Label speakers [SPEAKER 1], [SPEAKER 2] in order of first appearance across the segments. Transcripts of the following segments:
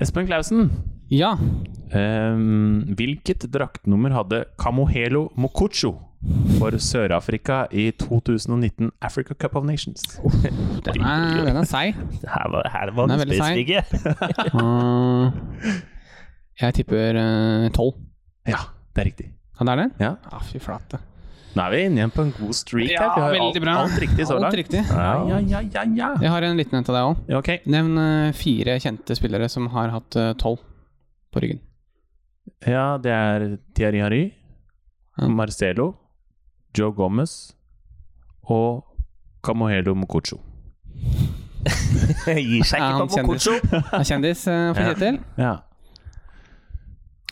[SPEAKER 1] Espen Clausen,
[SPEAKER 2] Ja.
[SPEAKER 1] ehm, hvilket draktnummer hadde Kamohelo Mokucho for Sør-Afrika i 2019 Africa Cup of Nations?
[SPEAKER 2] Den er, den er seig.
[SPEAKER 3] Her var, her var
[SPEAKER 2] Den
[SPEAKER 3] den
[SPEAKER 2] er veldig seig.
[SPEAKER 3] spesifikke.
[SPEAKER 2] Uh, jeg tipper eh, tolv.
[SPEAKER 1] Ja, det er riktig.
[SPEAKER 2] ja, det er det?
[SPEAKER 1] Ja.
[SPEAKER 2] Ah, fy flate.
[SPEAKER 1] Nå er vi inne igjen på en god streak
[SPEAKER 2] Ja,
[SPEAKER 1] her. Vi har
[SPEAKER 2] veldig
[SPEAKER 1] alt,
[SPEAKER 2] bra.
[SPEAKER 1] alt riktig så langt.
[SPEAKER 2] Alt riktig.
[SPEAKER 1] Ja, ja, ja, ja, ja.
[SPEAKER 2] Jeg har en liten en til deg òg.
[SPEAKER 1] Ja, Ok.
[SPEAKER 2] Nevn eh, fire kjente spillere som har hatt eh, tolv på ryggen.
[SPEAKER 1] Ja, det er Thierry Harry,
[SPEAKER 2] Ja.
[SPEAKER 1] Marcelo, Joe Gomez og Kamohelo Mokucho.
[SPEAKER 3] Gir seg
[SPEAKER 2] Ja,
[SPEAKER 3] ikke
[SPEAKER 2] Eh, han
[SPEAKER 3] på Mokocho.
[SPEAKER 2] Er Kjendis eh, for
[SPEAKER 1] Ja.
[SPEAKER 2] Kjetil?
[SPEAKER 1] Ja.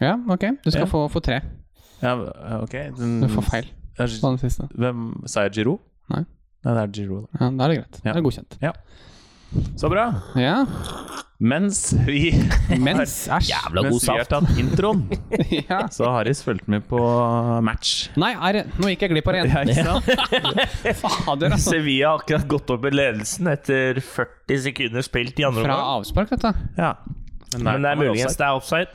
[SPEAKER 2] Ja, ok. Du skal
[SPEAKER 1] Ja.
[SPEAKER 2] få, få tre.
[SPEAKER 1] ja, ok. Den,
[SPEAKER 2] Du får feil på den siste.
[SPEAKER 1] Hvem sa jeg Giro?
[SPEAKER 2] Nei.
[SPEAKER 1] Nei, det er Giro. da.
[SPEAKER 2] Ja, Da er det greit.
[SPEAKER 1] Ja.
[SPEAKER 2] Da er det godkjent.
[SPEAKER 1] Så bra.
[SPEAKER 2] Ja.
[SPEAKER 1] Mens vi,
[SPEAKER 2] Mens Æsj.
[SPEAKER 3] Jævla god
[SPEAKER 1] mens vi har
[SPEAKER 3] saft.
[SPEAKER 1] tatt introen,
[SPEAKER 2] Ja.
[SPEAKER 1] så har Haris fulgt med på match.
[SPEAKER 2] Nei, er, det- nå gikk jeg glipp av det igjen.
[SPEAKER 1] Ja, ikke sant?
[SPEAKER 2] Fader, altså.
[SPEAKER 3] Sevilla har akkurat gått opp i ledelsen etter 40 sekunder spilt i andre
[SPEAKER 2] Fra
[SPEAKER 3] omgang.
[SPEAKER 2] avspark, dette.
[SPEAKER 1] Ja.
[SPEAKER 3] Men det er muligens det er offside,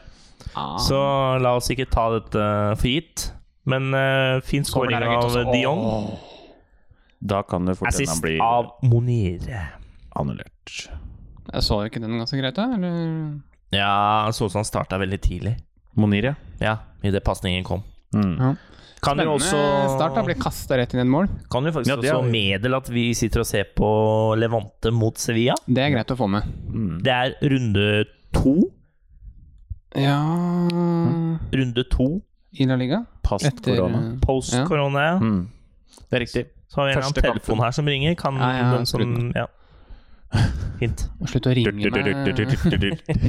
[SPEAKER 2] Ah.
[SPEAKER 3] så la oss ikke ta dette for gitt. Men eh, fin
[SPEAKER 2] Kommer
[SPEAKER 3] scoring
[SPEAKER 2] der,
[SPEAKER 3] av
[SPEAKER 2] gutt, også.
[SPEAKER 3] Dion.
[SPEAKER 1] Da kan det fort hende han
[SPEAKER 3] Assist
[SPEAKER 1] blir
[SPEAKER 3] av Moniere.
[SPEAKER 1] annullert.
[SPEAKER 2] Jeg så ikke den ganske greit, da? Eller?
[SPEAKER 3] Ja, han så ut som han starta veldig tidlig.
[SPEAKER 1] Monir, ja.
[SPEAKER 3] Ja, idet pasningen kom.
[SPEAKER 1] Mm.
[SPEAKER 2] Ja.
[SPEAKER 3] Kan jo
[SPEAKER 2] Spennende
[SPEAKER 3] også
[SPEAKER 2] start. da Blir kasta rett inn i et mål.
[SPEAKER 3] Kan jo faktisk
[SPEAKER 1] Ja, det er-
[SPEAKER 3] også meddele at vi sitter og ser på Levante mot Sevilla.
[SPEAKER 2] Det er greit å få med.
[SPEAKER 1] Mm.
[SPEAKER 3] Det er runde to.
[SPEAKER 2] Ja
[SPEAKER 1] Mm.
[SPEAKER 3] Runde to
[SPEAKER 2] I La Liga?
[SPEAKER 1] Past
[SPEAKER 2] Etter
[SPEAKER 1] korona.
[SPEAKER 2] eh,
[SPEAKER 3] post
[SPEAKER 2] Ja.
[SPEAKER 3] korona.
[SPEAKER 1] Mm. Det er riktig.
[SPEAKER 3] Så har vi en eller
[SPEAKER 1] Første
[SPEAKER 3] annen telefon her som ringer. Kan
[SPEAKER 2] Ja, ja,
[SPEAKER 3] den
[SPEAKER 2] skru
[SPEAKER 3] som Ja. Hint.
[SPEAKER 2] Slutt å ringe meg.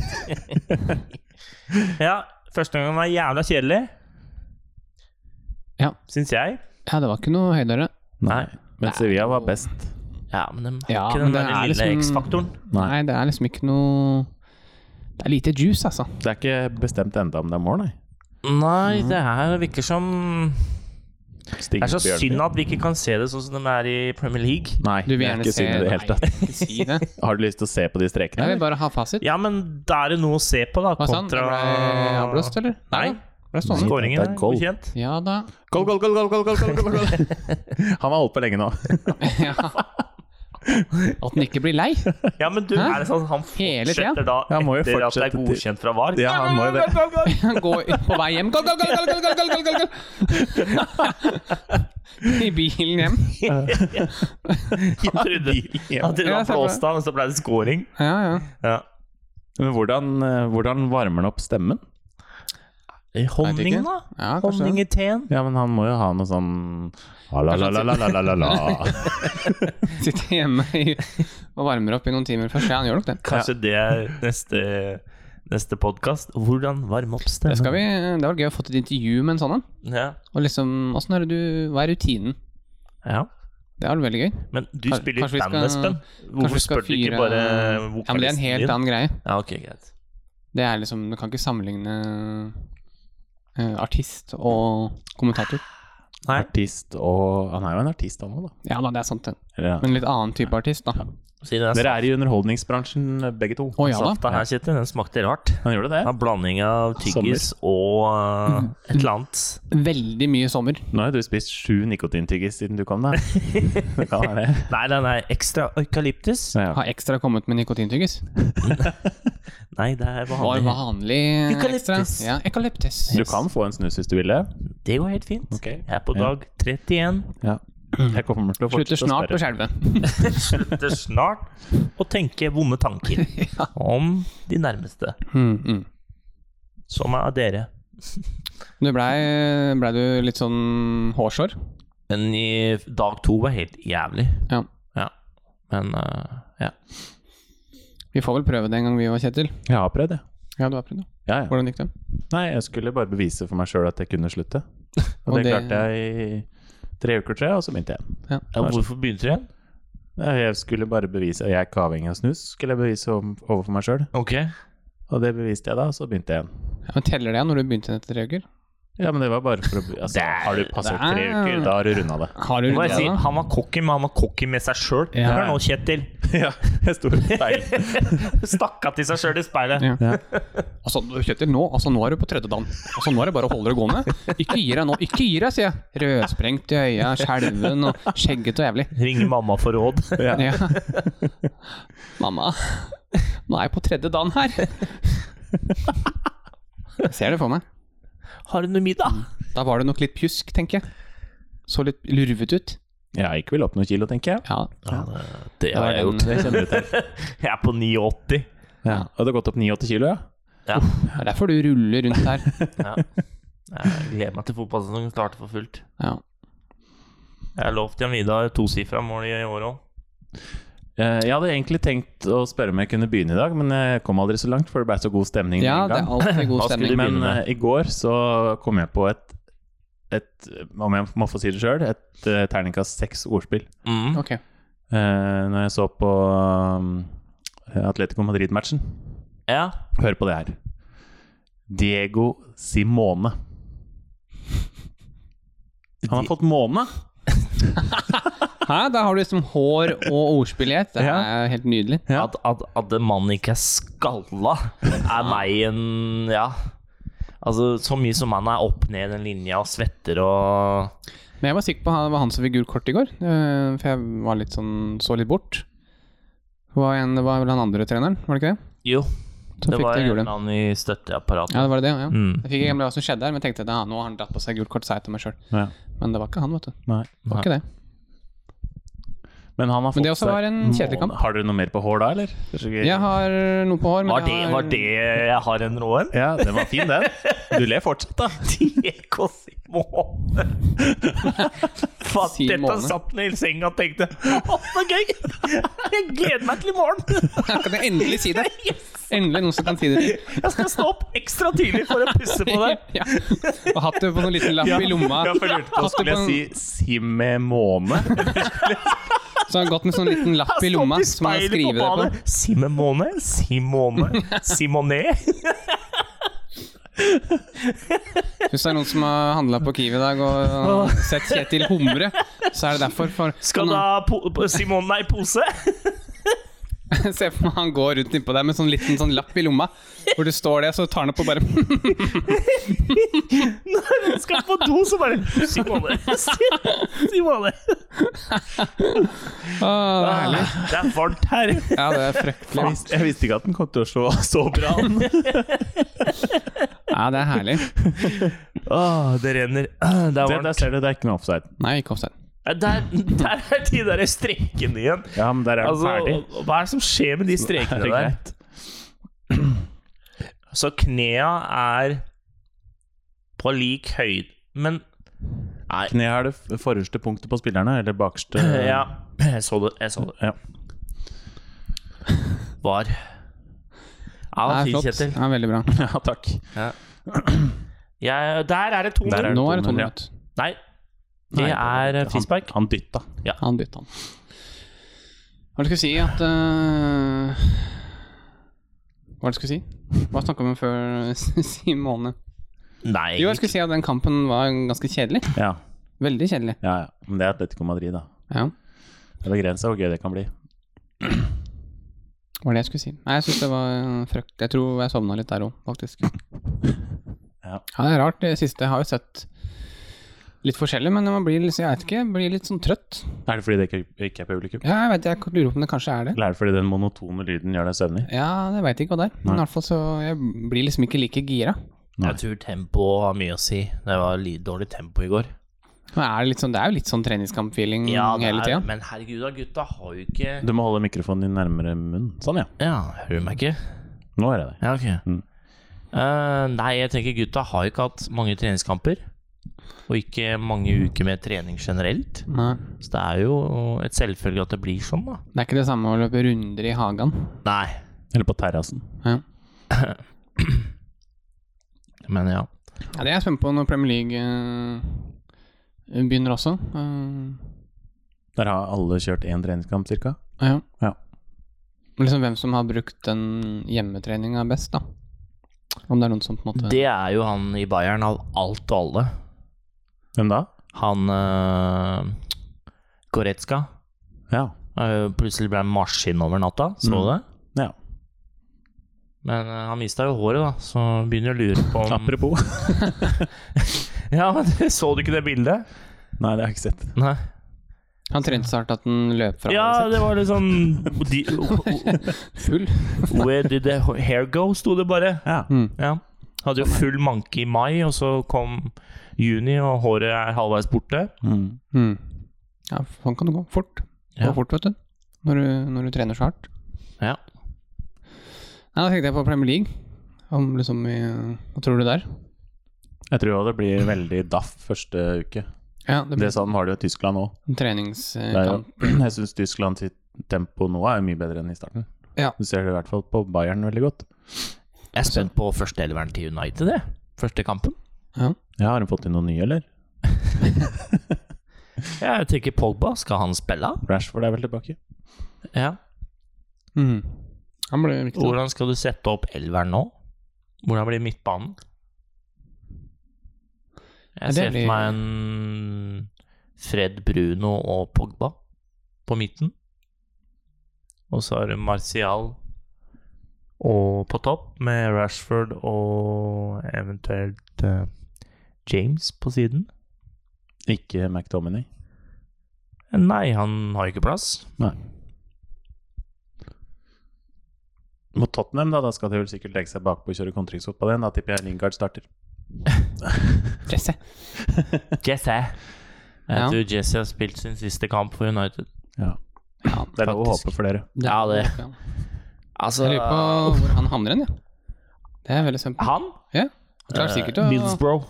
[SPEAKER 3] Ja, første gangen var jævla kjedelig.
[SPEAKER 2] Ja.
[SPEAKER 3] Syns jeg.
[SPEAKER 2] Ja, det var ikke noe høydere.
[SPEAKER 1] Nei, men Sevilla var best.
[SPEAKER 3] Ja, men de har
[SPEAKER 2] Ja,
[SPEAKER 3] ikke
[SPEAKER 2] men
[SPEAKER 3] den
[SPEAKER 2] det
[SPEAKER 3] der
[SPEAKER 2] er
[SPEAKER 3] lille
[SPEAKER 2] liksom-
[SPEAKER 3] X-faktoren.
[SPEAKER 1] Nei.
[SPEAKER 2] Nei, det er liksom ikke noe Det er lite juice, altså.
[SPEAKER 1] Det er ikke bestemt enda om det er mål, nei.
[SPEAKER 3] Nei, det her virker som
[SPEAKER 1] Stig
[SPEAKER 3] Det er så
[SPEAKER 1] Bjørnby.
[SPEAKER 3] synd at vi ikke kan se det sånn som de er i Premier League.
[SPEAKER 1] Nei,
[SPEAKER 2] Du vil
[SPEAKER 1] det er
[SPEAKER 2] gjerne
[SPEAKER 1] ikke
[SPEAKER 2] se
[SPEAKER 1] synd i det hele tatt.
[SPEAKER 2] Nei, ikke si det.
[SPEAKER 1] Har du lyst til å se på de
[SPEAKER 2] Jeg
[SPEAKER 1] strekene?
[SPEAKER 2] vil bare ha fasit.
[SPEAKER 3] Ja, men da er det noe å se på, da.
[SPEAKER 2] Hva sa han? Det
[SPEAKER 3] Kontra
[SPEAKER 2] ble avblåst, eller?
[SPEAKER 3] Nei.
[SPEAKER 2] da. Ble
[SPEAKER 1] Nei.
[SPEAKER 2] stående.
[SPEAKER 3] Skåringen
[SPEAKER 1] Det er
[SPEAKER 3] er
[SPEAKER 1] goal.
[SPEAKER 3] ukjent.
[SPEAKER 2] Ja da.
[SPEAKER 1] Goal, goal, goal, goal, goal, goal, goal, goal, goal. Han har holdt på lenge nå.
[SPEAKER 2] Ja. At den ikke blir lei.
[SPEAKER 3] Ja, men du,
[SPEAKER 2] Hæ?
[SPEAKER 3] er det sånn at han
[SPEAKER 2] Hele tiden?
[SPEAKER 3] fortsetter da
[SPEAKER 1] Han må jo
[SPEAKER 3] etter at det er
[SPEAKER 1] fortsette til-
[SPEAKER 3] godkjent fra VAR?
[SPEAKER 1] Ja, han må jo det.
[SPEAKER 2] Han går ut på vei hjem. Go, go, go, go, go, go, go, go, go. I bilen hjem.
[SPEAKER 3] Han trodde han trodde
[SPEAKER 2] Ja,
[SPEAKER 3] han
[SPEAKER 2] jeg ser på det.
[SPEAKER 3] blåste av, men så ble det scoring.
[SPEAKER 2] Ja, ja.
[SPEAKER 3] Ja.
[SPEAKER 1] Men hvordan, eh, hvordan varmer han opp stemmen?
[SPEAKER 3] Honning, da?
[SPEAKER 2] ja kanskje
[SPEAKER 3] Honning
[SPEAKER 2] det.
[SPEAKER 3] i teen?
[SPEAKER 1] Ja, men han må jo ha noe sånn la-la-la-la-la-la-la.
[SPEAKER 2] Sitter hjemme i, og varmer opp i noen timer først. Ja, han gjør nok det.
[SPEAKER 3] Kanskje det er neste, neste podkast? Hvordan varme opp
[SPEAKER 2] Det,
[SPEAKER 3] stemmen?
[SPEAKER 2] skal vi, det var gøy å få et intervju med en sånn en.
[SPEAKER 3] Ja.
[SPEAKER 2] Og liksom, hvordan er det du, Hva er rutinen?
[SPEAKER 3] ja.
[SPEAKER 2] Det er vel veldig gøy.
[SPEAKER 3] Men du
[SPEAKER 2] Kan-
[SPEAKER 3] spiller
[SPEAKER 2] kanskje
[SPEAKER 3] i
[SPEAKER 2] vi
[SPEAKER 3] band,
[SPEAKER 2] skal-
[SPEAKER 3] Espen.
[SPEAKER 2] Kanskje vi
[SPEAKER 3] Hvorfor
[SPEAKER 2] skal
[SPEAKER 3] spør du ikke
[SPEAKER 2] fyre-
[SPEAKER 3] bare
[SPEAKER 2] Ja, men Det er en
[SPEAKER 3] vokalisten
[SPEAKER 2] helt
[SPEAKER 3] din?
[SPEAKER 2] annen greie.
[SPEAKER 3] Ja, ok, greit.
[SPEAKER 2] Det er liksom, Du kan ikke sammenligne eh, artist og kommentator.
[SPEAKER 3] Nei.
[SPEAKER 1] Artist og Han er jo en artist, han òg, da.
[SPEAKER 2] Ja da, det er sant, det.
[SPEAKER 1] Eller, ja.
[SPEAKER 2] Men litt annen type artist, da.
[SPEAKER 3] Si det er
[SPEAKER 1] Dere er i underholdningsbransjen, eh, begge to.
[SPEAKER 2] Å ja da.
[SPEAKER 3] safta her, Kjetil. Den smakte rart.
[SPEAKER 1] Han gjorde det.
[SPEAKER 3] En blanding av tyggis og
[SPEAKER 2] Mhm.
[SPEAKER 3] eh, et eller annet.
[SPEAKER 2] Veldig mye sommer.
[SPEAKER 1] Nå har jo du spist sju nikotintyggis siden du kom, da. Det kan være det.
[SPEAKER 3] Nei, den er ekstra eukalyptus.
[SPEAKER 1] Ja.
[SPEAKER 2] Har ekstra kommet med nikotintyggis?
[SPEAKER 3] Nei, det er
[SPEAKER 2] Var
[SPEAKER 3] vanlig.
[SPEAKER 2] vanlig ekstra.
[SPEAKER 3] Eukalyptus.
[SPEAKER 2] Ja, eukalyptus.
[SPEAKER 1] Du kan få en snus hvis du vil det.
[SPEAKER 3] Det går helt fint.
[SPEAKER 1] Ok.
[SPEAKER 3] Jeg er på dag 31.
[SPEAKER 1] Ja. Jeg kommer til å fortsette
[SPEAKER 2] Slutter snart å
[SPEAKER 1] å sperre.
[SPEAKER 2] skjelve.
[SPEAKER 3] Slutter snart å tenke vonde tanker om de nærmeste,
[SPEAKER 2] Mm, mm.
[SPEAKER 3] som er dere.
[SPEAKER 2] Du blei ble du litt sånn hårsår?
[SPEAKER 3] Men i dag to var helt jævlig.
[SPEAKER 2] Ja.
[SPEAKER 3] Ja. Men eh, ja.
[SPEAKER 2] Vi får vel prøve det en gang vi var Kjetil.
[SPEAKER 1] Jeg har prøvd, jeg.
[SPEAKER 2] Ja, du har prøvd det.
[SPEAKER 1] Ja, ja.
[SPEAKER 2] Hvordan gikk det?
[SPEAKER 1] Nei, jeg skulle bare bevise for meg sjøl at jeg kunne slutte. Og,
[SPEAKER 2] Og
[SPEAKER 1] det,
[SPEAKER 2] det-
[SPEAKER 1] klarte jeg i tre uker, tror jeg, og så begynte jeg.
[SPEAKER 3] Ja, Hvorfor begynte du igjen?
[SPEAKER 1] Nei, Jeg skulle bare bevise Jeg er ikke avhengig av snus, skulle jeg bevise om- overfor meg sjøl.
[SPEAKER 3] Ok.
[SPEAKER 1] Og det beviste jeg da, og så begynte jeg igjen.
[SPEAKER 2] Ja, men Teller det når du begynte etter tre uker?
[SPEAKER 1] Ja, men det var bare for å be- altså,
[SPEAKER 3] Der-
[SPEAKER 1] Har du passert tre
[SPEAKER 2] der.
[SPEAKER 1] uker, da har du runda det.
[SPEAKER 2] Har du
[SPEAKER 3] Hva jeg
[SPEAKER 2] rundet
[SPEAKER 3] sier,
[SPEAKER 2] det?
[SPEAKER 3] han var cocky, men han var cocky med seg sjøl.
[SPEAKER 2] Ja.
[SPEAKER 3] Hør nå, Kjetil.
[SPEAKER 1] ja, jeg sto i speilet.
[SPEAKER 3] Stakk av til seg sjøl i speilet.
[SPEAKER 2] Ja. Altså, du, Kjetil, nå, altså, nå er du på tredje dan. Altså, nå er det bare å holde det gående. Ikke gi deg nå. Ikke gi deg, sier jeg. Rødsprengt i øya, skjelven og skjeggete og jævlig.
[SPEAKER 3] Ringe mamma for råd.
[SPEAKER 1] Ja.
[SPEAKER 2] Ja. Mamma, nå er jeg på tredje dan her. Jeg ser det for meg.
[SPEAKER 3] Har du noe middag?
[SPEAKER 2] Da var det nok litt pjusk, tenker jeg. Så litt lurvet ut.
[SPEAKER 1] Jeg gikk vel opp noen kilo, tenker jeg.
[SPEAKER 2] Ja.
[SPEAKER 3] Det
[SPEAKER 2] har jeg gjort.
[SPEAKER 1] Det kjenner du til.
[SPEAKER 3] Jeg er på 89.
[SPEAKER 1] Ja. Og det har gått opp 89 kilo, ja?
[SPEAKER 3] Ja.
[SPEAKER 2] Det er derfor du ruller rundt her.
[SPEAKER 3] ja. Jeg gleder meg til fotballsesongen starter for fullt.
[SPEAKER 2] Ja.
[SPEAKER 3] Jeg har lovt Jan Vidar tosifra mål i år òg.
[SPEAKER 1] Eh, Jeg hadde egentlig tenkt å spørre om jeg kunne begynne i dag, men jeg kom aldri så langt, for det ble så god stemning.
[SPEAKER 2] ja,
[SPEAKER 1] med
[SPEAKER 2] det
[SPEAKER 1] en
[SPEAKER 2] er
[SPEAKER 1] gang.
[SPEAKER 2] alltid god
[SPEAKER 3] Hva skulle
[SPEAKER 2] stemning.
[SPEAKER 3] du-
[SPEAKER 1] Men
[SPEAKER 3] begynne med.
[SPEAKER 1] eh, i går så kom jeg på et, et om jeg må få si det sjøl, et eh, terningkast seks ordspill.
[SPEAKER 3] Mm.
[SPEAKER 2] Ok.
[SPEAKER 1] Eh, når jeg så på eh, Atletico Madrid-matchen.
[SPEAKER 3] Ja.
[SPEAKER 1] Hør på det her. Diego Simone. Han har fått måne.
[SPEAKER 2] Hæ, da har du liksom hår og ordspill i ett. Det er helt nydelig.
[SPEAKER 1] Ja.
[SPEAKER 3] At, at, at en mann ikke er skalla, er meg en Ja. Altså, så mye som han er opp ned den linja og svetter og
[SPEAKER 2] Men jeg var sikker på han- det var han som figur kort i går, eh, for jeg var litt sånn, så litt bort. Det var, en, det var vel han andre treneren, var det ikke det?
[SPEAKER 3] Jo,
[SPEAKER 2] Så
[SPEAKER 3] det
[SPEAKER 2] fikk
[SPEAKER 3] var
[SPEAKER 2] det
[SPEAKER 3] en
[SPEAKER 2] gule.
[SPEAKER 3] eller annen i støtteapparatet.
[SPEAKER 2] Ja, det var det, ja.
[SPEAKER 3] Mm.
[SPEAKER 2] Jeg fikk ikke med hva som skjedde her, men tenkte at ja, nå har han dratt på seg gult kort, sa jeg til meg sjøl.
[SPEAKER 1] Ja.
[SPEAKER 2] Men det var ikke han, vet du. Det
[SPEAKER 1] Nei.
[SPEAKER 2] var ikke det.
[SPEAKER 1] Men han har fått
[SPEAKER 2] det også
[SPEAKER 1] seg
[SPEAKER 2] var en kjedelig kamp.
[SPEAKER 1] måne. Har dere noe mer på hår da, eller? Kanskje ikke-
[SPEAKER 2] Jeg har noe på hår, men
[SPEAKER 3] Var det,
[SPEAKER 2] jeg har
[SPEAKER 3] var det jeg har en rå en?
[SPEAKER 1] ja, den var fin, den. Du ler fortsatt, da.
[SPEAKER 3] Diego Simone. Fatt, dette
[SPEAKER 2] Simone.
[SPEAKER 3] satt han i senga og tenkte Å, så gøy! Jeg gleder meg til i morgen!
[SPEAKER 2] Jeg kan jeg endelig si det!
[SPEAKER 3] Yes!
[SPEAKER 2] Endelig noen som kan si det til.
[SPEAKER 3] Jeg skal stå opp ekstra tidlig for å pusse på det.
[SPEAKER 2] Ja. Og hatt det på noen liten lapp i lomma.
[SPEAKER 1] Ja, for jeg lurte på,
[SPEAKER 2] Hatt det
[SPEAKER 1] skulle
[SPEAKER 2] på en-
[SPEAKER 1] jeg si Simemone?
[SPEAKER 2] Så har han gått med sånn liten lapp i lomma som han kan skrive det på.
[SPEAKER 3] Simone, Simone, Simone.
[SPEAKER 2] Hvis det er noen som har handla på Kiwi i dag og sett Kjetil humre, så er det derfor. For
[SPEAKER 3] Skal du ha po po- Simone i pose?
[SPEAKER 2] Se for meg han går rundt innpå deg med sånn liten sånn lapp i lomma, hvor det står det, så tar han opp og bare
[SPEAKER 3] Når hun skal på do, så bare Simone,
[SPEAKER 2] Å,
[SPEAKER 3] Simone.
[SPEAKER 2] det er Ah, herlig.
[SPEAKER 3] Det er varmt her.
[SPEAKER 2] Ja, det er fryktelig.
[SPEAKER 1] Jeg visste, jeg visste ikke at den kom til å slå så bra.
[SPEAKER 2] Ja, det er herlig.
[SPEAKER 3] Åh, Ah, det renner. Det er
[SPEAKER 1] Det, der
[SPEAKER 3] varmt.
[SPEAKER 1] ser du, det er ikke noe offside.
[SPEAKER 2] Nei, ikke offside.
[SPEAKER 3] Der, der er de der strekkene igjen.
[SPEAKER 1] Ja, men der er den ferdig.
[SPEAKER 3] Altså, hva er det som skjer med de
[SPEAKER 1] Er
[SPEAKER 3] strekene
[SPEAKER 1] det
[SPEAKER 3] der?
[SPEAKER 1] greit?
[SPEAKER 3] Så knea er på lik høyde Men nei,
[SPEAKER 1] Kne er det f- forreste punktet på spillerne, eller bakerste
[SPEAKER 3] ja, jeg så det. Jeg så det.
[SPEAKER 1] Ja.
[SPEAKER 3] Var. Ja,
[SPEAKER 2] Det er
[SPEAKER 3] fint,
[SPEAKER 2] flott.
[SPEAKER 3] Kjetil.
[SPEAKER 2] Ja, veldig bra.
[SPEAKER 1] Ja, takk.
[SPEAKER 3] Jeg, der er det to
[SPEAKER 1] Der er
[SPEAKER 3] minutter.
[SPEAKER 1] det
[SPEAKER 2] Nå er
[SPEAKER 1] to
[SPEAKER 2] det
[SPEAKER 1] minutter,
[SPEAKER 2] to minutter.
[SPEAKER 3] Nei,
[SPEAKER 1] Nei,
[SPEAKER 3] det er
[SPEAKER 1] han-
[SPEAKER 3] frispark.
[SPEAKER 1] Han dytta.
[SPEAKER 2] Han bytta han. Hva er det du skulle si at eh, Hva er det du skulle si? Hva snakka vi om før Simone?
[SPEAKER 3] Nei,
[SPEAKER 2] Jo, jeg skulle si at den kampen var ganske kjedelig.
[SPEAKER 1] Ja,
[SPEAKER 2] Veldig kjedelig.
[SPEAKER 1] ja, ja. Men det er Atletico Madrid, da.
[SPEAKER 2] Ja,
[SPEAKER 1] Det er begrensa hvor gøy det kan bli.
[SPEAKER 2] var det jeg skulle si. Nei, jeg syns det var eh, frykt. Jeg tror jeg sovna litt der òg, faktisk.
[SPEAKER 1] Ja.
[SPEAKER 2] det er rart. Det siste jeg har jo sett litt forskjellig, men man blir, liksom- jeg vet ikke, blir litt sånn trøtt.
[SPEAKER 1] Er det fordi det ikke- ikke er publikum?
[SPEAKER 2] Ja, jeg vet, jeg lurer på om det kanskje er det.
[SPEAKER 1] Eller er det fordi den monotone lyden gjør deg søvnig?
[SPEAKER 2] Ja, det veit jeg ikke hva det er. Men i hvert fall så Jeg blir liksom ikke like gira.
[SPEAKER 3] jeg tror tempoet har mye å si. Det var li- dårlig tempo i går.
[SPEAKER 2] Men er det, litt sånn, det er jo litt sånn treningskamp-feeling
[SPEAKER 3] det
[SPEAKER 2] hele
[SPEAKER 3] er-
[SPEAKER 2] tida.
[SPEAKER 3] Men herregud da, gutta har jo ikke
[SPEAKER 1] Du må holde mikrofonen din nærmere munnen. Sånn, ja.
[SPEAKER 3] Ja, hører du meg ikke?
[SPEAKER 1] Nå er jeg der.
[SPEAKER 3] Ja, ok.
[SPEAKER 1] Mm.
[SPEAKER 3] Eh, nei, jeg tenker gutta har ikke hatt mange treningskamper. Og ikke mange uker med trening generelt.
[SPEAKER 2] Nei,
[SPEAKER 3] Så det er jo et selvfølge at det blir sånn, da.
[SPEAKER 2] det er ikke det samme å løpe runder i hagen.
[SPEAKER 3] Nei,
[SPEAKER 1] Eller på terrassen.
[SPEAKER 2] Ja.
[SPEAKER 3] men ja.
[SPEAKER 2] Ja, det er jeg spent på når Premier League eh, begynner også. Eh,
[SPEAKER 1] Der har alle kjørt én treningskamp, cirka.
[SPEAKER 2] ja.
[SPEAKER 1] Ja.
[SPEAKER 2] Men Liksom hvem som har brukt den hjemmetreninga best, da. Om det er noen som på en måte
[SPEAKER 3] Det er jo han i Bayern av alt og alle.
[SPEAKER 1] Hvem da?
[SPEAKER 3] Han uh, eh, Goretzka.
[SPEAKER 1] Ja.
[SPEAKER 3] Eh, Plutselig ble han maskin over natta, så du det?
[SPEAKER 1] Ja.
[SPEAKER 3] Men eh, han mista jo håret, da, så begynner jeg å lure på om
[SPEAKER 1] Apropos.
[SPEAKER 3] Ja, men Så du ikke det bildet?
[SPEAKER 1] Nei, det har jeg ikke sett.
[SPEAKER 3] Nei.
[SPEAKER 2] Han trente så hardt at han løp fra
[SPEAKER 3] Ja, det var litt sånn de,
[SPEAKER 2] full.
[SPEAKER 3] Where did the hair go? sto det bare.
[SPEAKER 1] Ja.
[SPEAKER 2] Mm.
[SPEAKER 3] Ja. Hadde jo full manke i mai, og så kom juni, og håret er halvveis borte.
[SPEAKER 1] Mm.
[SPEAKER 2] Mm. Ja, sånn kan det gå. Fort. Det
[SPEAKER 3] Ja.
[SPEAKER 2] går fort, vet du. Når du, når du trener så hardt.
[SPEAKER 3] Ja.
[SPEAKER 2] Nei, da tenkte jeg på Premier League. Om liksom vi Hva tror du der?
[SPEAKER 1] Jeg tror også det blir veldig daff første uke.
[SPEAKER 2] Ja, det
[SPEAKER 1] Det
[SPEAKER 2] blir
[SPEAKER 1] sånn har det jo i Tyskland òg.
[SPEAKER 2] en
[SPEAKER 1] Det er jo-
[SPEAKER 2] treningskamp.
[SPEAKER 1] Jeg syns Tyskland sitt tempo nå er jo mye bedre enn i starten.
[SPEAKER 2] Ja.
[SPEAKER 1] Du ser det i hvert fall på Bayern veldig godt.
[SPEAKER 3] Jeg er spent på førsteeleveren til United, jeg. Første kampen.
[SPEAKER 1] Ja, Har de fått inn noen nye, eller?
[SPEAKER 3] Jeg tenker Pogba, skal han spille?
[SPEAKER 1] Rashford er vel tilbake.
[SPEAKER 3] Ja.
[SPEAKER 2] Mm. Han ble viktig. da.
[SPEAKER 3] Hvordan skal du sette opp elveren nå? Hvordan blir midtbanen?
[SPEAKER 2] Ja, det
[SPEAKER 3] Jeg ser
[SPEAKER 2] blir-
[SPEAKER 3] for meg en Fred Bruno og Pogba på midten. Og så har du Martial og på topp med Rashford og eventuelt eh, James på siden.
[SPEAKER 1] Ikke McDominay.
[SPEAKER 3] Nei, han har ikke plass.
[SPEAKER 1] Nei. Mot Tottenham, da, da skal de vel sikkert legge seg bakpå og kjøre kontringsfotball igjen. Da tipper jeg Lingard starter.
[SPEAKER 2] Presse.
[SPEAKER 3] Jesse. Jeg
[SPEAKER 2] Ja.
[SPEAKER 3] tror Jesse har spilt sin siste kamp for United.
[SPEAKER 1] Ja.
[SPEAKER 2] Ja,
[SPEAKER 1] Det er lov å
[SPEAKER 3] Faktisk.
[SPEAKER 1] håpe for dere.
[SPEAKER 3] Ja, det-
[SPEAKER 2] Jeg lurer på hvor han havner hen, jeg. Det er veldig sunt.
[SPEAKER 3] Han?
[SPEAKER 2] Ja, han klarer sikkert å
[SPEAKER 3] eh, Middlesbrough.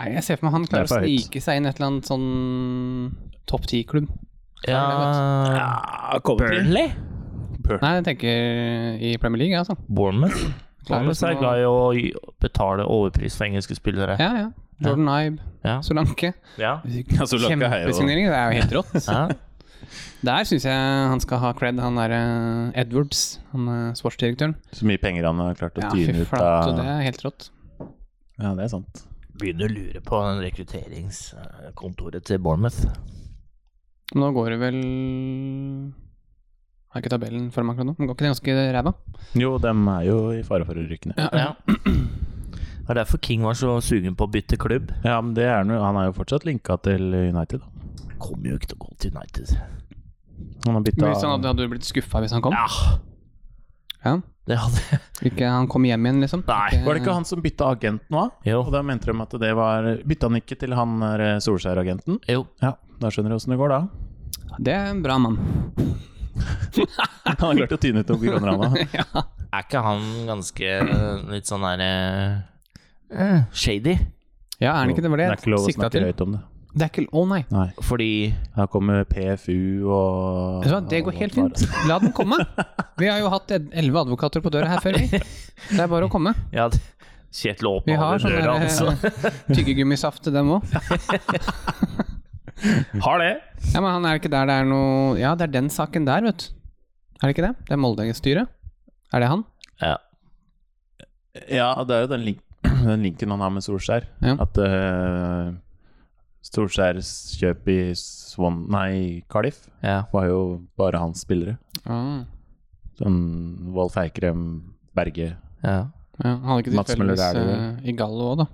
[SPEAKER 2] Nei, jeg ser for meg han klarer
[SPEAKER 1] Det er
[SPEAKER 2] å
[SPEAKER 1] for høyt.
[SPEAKER 2] snike seg inn et eller annet sånn topp ti-klubb.
[SPEAKER 3] Ja, Burnley?
[SPEAKER 2] Nei, jeg tenker i Premier League, altså.
[SPEAKER 3] Bournemouth.
[SPEAKER 2] Klarer
[SPEAKER 3] Bournemouth er
[SPEAKER 2] liksom å-
[SPEAKER 3] glad i å gi- betale overpris for engelske spillere.
[SPEAKER 2] Ja, ja. Jordan Ibe,
[SPEAKER 3] Ja.
[SPEAKER 2] Solanke.
[SPEAKER 3] Ja.
[SPEAKER 1] Ja, Solanke er jo-
[SPEAKER 2] Kjempesignering. Det er jo helt rått.
[SPEAKER 3] Ja.
[SPEAKER 2] Der syns jeg han skal ha cred, han derre Edwards, han eh, sportsdirektøren.
[SPEAKER 1] Så mye penger han har klart å
[SPEAKER 2] Ja, fy
[SPEAKER 1] tyne ut
[SPEAKER 2] flate, det
[SPEAKER 1] av
[SPEAKER 2] er helt rått.
[SPEAKER 1] Ja, det er sant.
[SPEAKER 3] Begynner å lure på den rekrutteringskontoret til Bournemouth.
[SPEAKER 2] Men nå går det vel Har ikke tabellen for meg akkurat nå, men går ikke det ganske ræva?
[SPEAKER 1] Jo, dem er jo i fare for å rykke ned.
[SPEAKER 3] Ja. Det var derfor King var så sugen på å bytte klubb.
[SPEAKER 1] Ja, men det er noe, han er jo fortsatt linka til United. Da.
[SPEAKER 3] Kommer jo ikke til å gå til United.
[SPEAKER 1] Han har
[SPEAKER 2] Men Hvis han
[SPEAKER 1] bytta
[SPEAKER 2] hadde, hadde du blitt skuffa hvis han kom?
[SPEAKER 3] Ja,
[SPEAKER 2] Ja.
[SPEAKER 3] det hadde
[SPEAKER 2] Ikke han kom hjem igjen, liksom?
[SPEAKER 3] Nei,
[SPEAKER 1] Var det ikke han som bytta agent nå? da?
[SPEAKER 3] Jo.
[SPEAKER 1] Og da mente de at det var Bytta han ikke til han der, eh, Solskjær-agenten?
[SPEAKER 3] jo.
[SPEAKER 1] Ja, da skjønner du åssen det går, da.
[SPEAKER 2] Det er en bra mann.
[SPEAKER 1] Han har klart å tyne ut noen kroner, han da.
[SPEAKER 3] Er ikke han ganske eh, litt sånn der eh, eh, Shady?
[SPEAKER 2] Ja, er han ikke det? Var det
[SPEAKER 1] Det er ikke lov å
[SPEAKER 2] jeg sikta
[SPEAKER 1] snakke
[SPEAKER 2] til?
[SPEAKER 1] høyt om det.
[SPEAKER 2] Det er ikke Å, nei.
[SPEAKER 1] Nei.
[SPEAKER 3] Fordi
[SPEAKER 1] Her kommer PFU og
[SPEAKER 2] Vet du hva, det går helt fint. La den komme. Vi har jo hatt ed- elleve advokater på døra her før, vi. Det er bare å komme.
[SPEAKER 3] Ja, det- Kjetil
[SPEAKER 2] Vi
[SPEAKER 3] åpna
[SPEAKER 2] har
[SPEAKER 3] alle
[SPEAKER 2] sånn
[SPEAKER 3] døra, altså.
[SPEAKER 2] der, eh, tyggegummisaft til dem òg. eh,
[SPEAKER 3] Har det.
[SPEAKER 2] Ja, men han er ikke der det er noe Ja, det er den saken der, vet du. Er det ikke det? Det er Molde-styret. Er det han?
[SPEAKER 3] Ja.
[SPEAKER 1] Ja, det er jo den, link, den linken han har med Solskjær.
[SPEAKER 2] Ja.
[SPEAKER 1] At eh, Solskjærs kjøp i Swan Nei, Cardiff
[SPEAKER 3] ja.
[SPEAKER 1] var jo bare hans spillere.
[SPEAKER 2] Ah,
[SPEAKER 1] Sånn Wolf Eikrem, Berge
[SPEAKER 3] ja.
[SPEAKER 2] ja, han hadde ikke
[SPEAKER 1] Mats Møller er det
[SPEAKER 2] tilfeldigvis eh, i Gallo òg, da.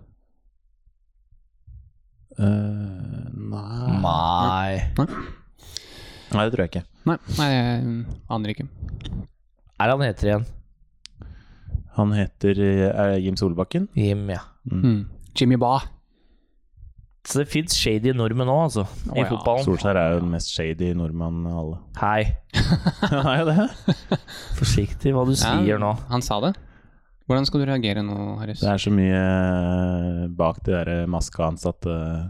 [SPEAKER 1] Eh, nei.
[SPEAKER 3] Nei.
[SPEAKER 1] nei, det tror jeg ikke.
[SPEAKER 2] Nei, nei, jeg aner ikke.
[SPEAKER 3] Er han heter igjen?
[SPEAKER 1] Han heter eh, Jim Solbakken.
[SPEAKER 3] Jim, ja.
[SPEAKER 2] Mm. Jimmy Ba.
[SPEAKER 3] Så det fins shady nordmenn òg, altså,
[SPEAKER 2] Å,
[SPEAKER 3] i
[SPEAKER 2] ja.
[SPEAKER 3] fotballen.
[SPEAKER 1] Solskjær er jo den mest shady nordmannen av alle.
[SPEAKER 3] Hei.
[SPEAKER 1] Han er jo det.
[SPEAKER 3] Forsiktig hva du sier nå.
[SPEAKER 2] Han sa det. Hvordan skal du reagere nå, Harris?
[SPEAKER 1] Det er så mye eh, bak de der maska hans at eh,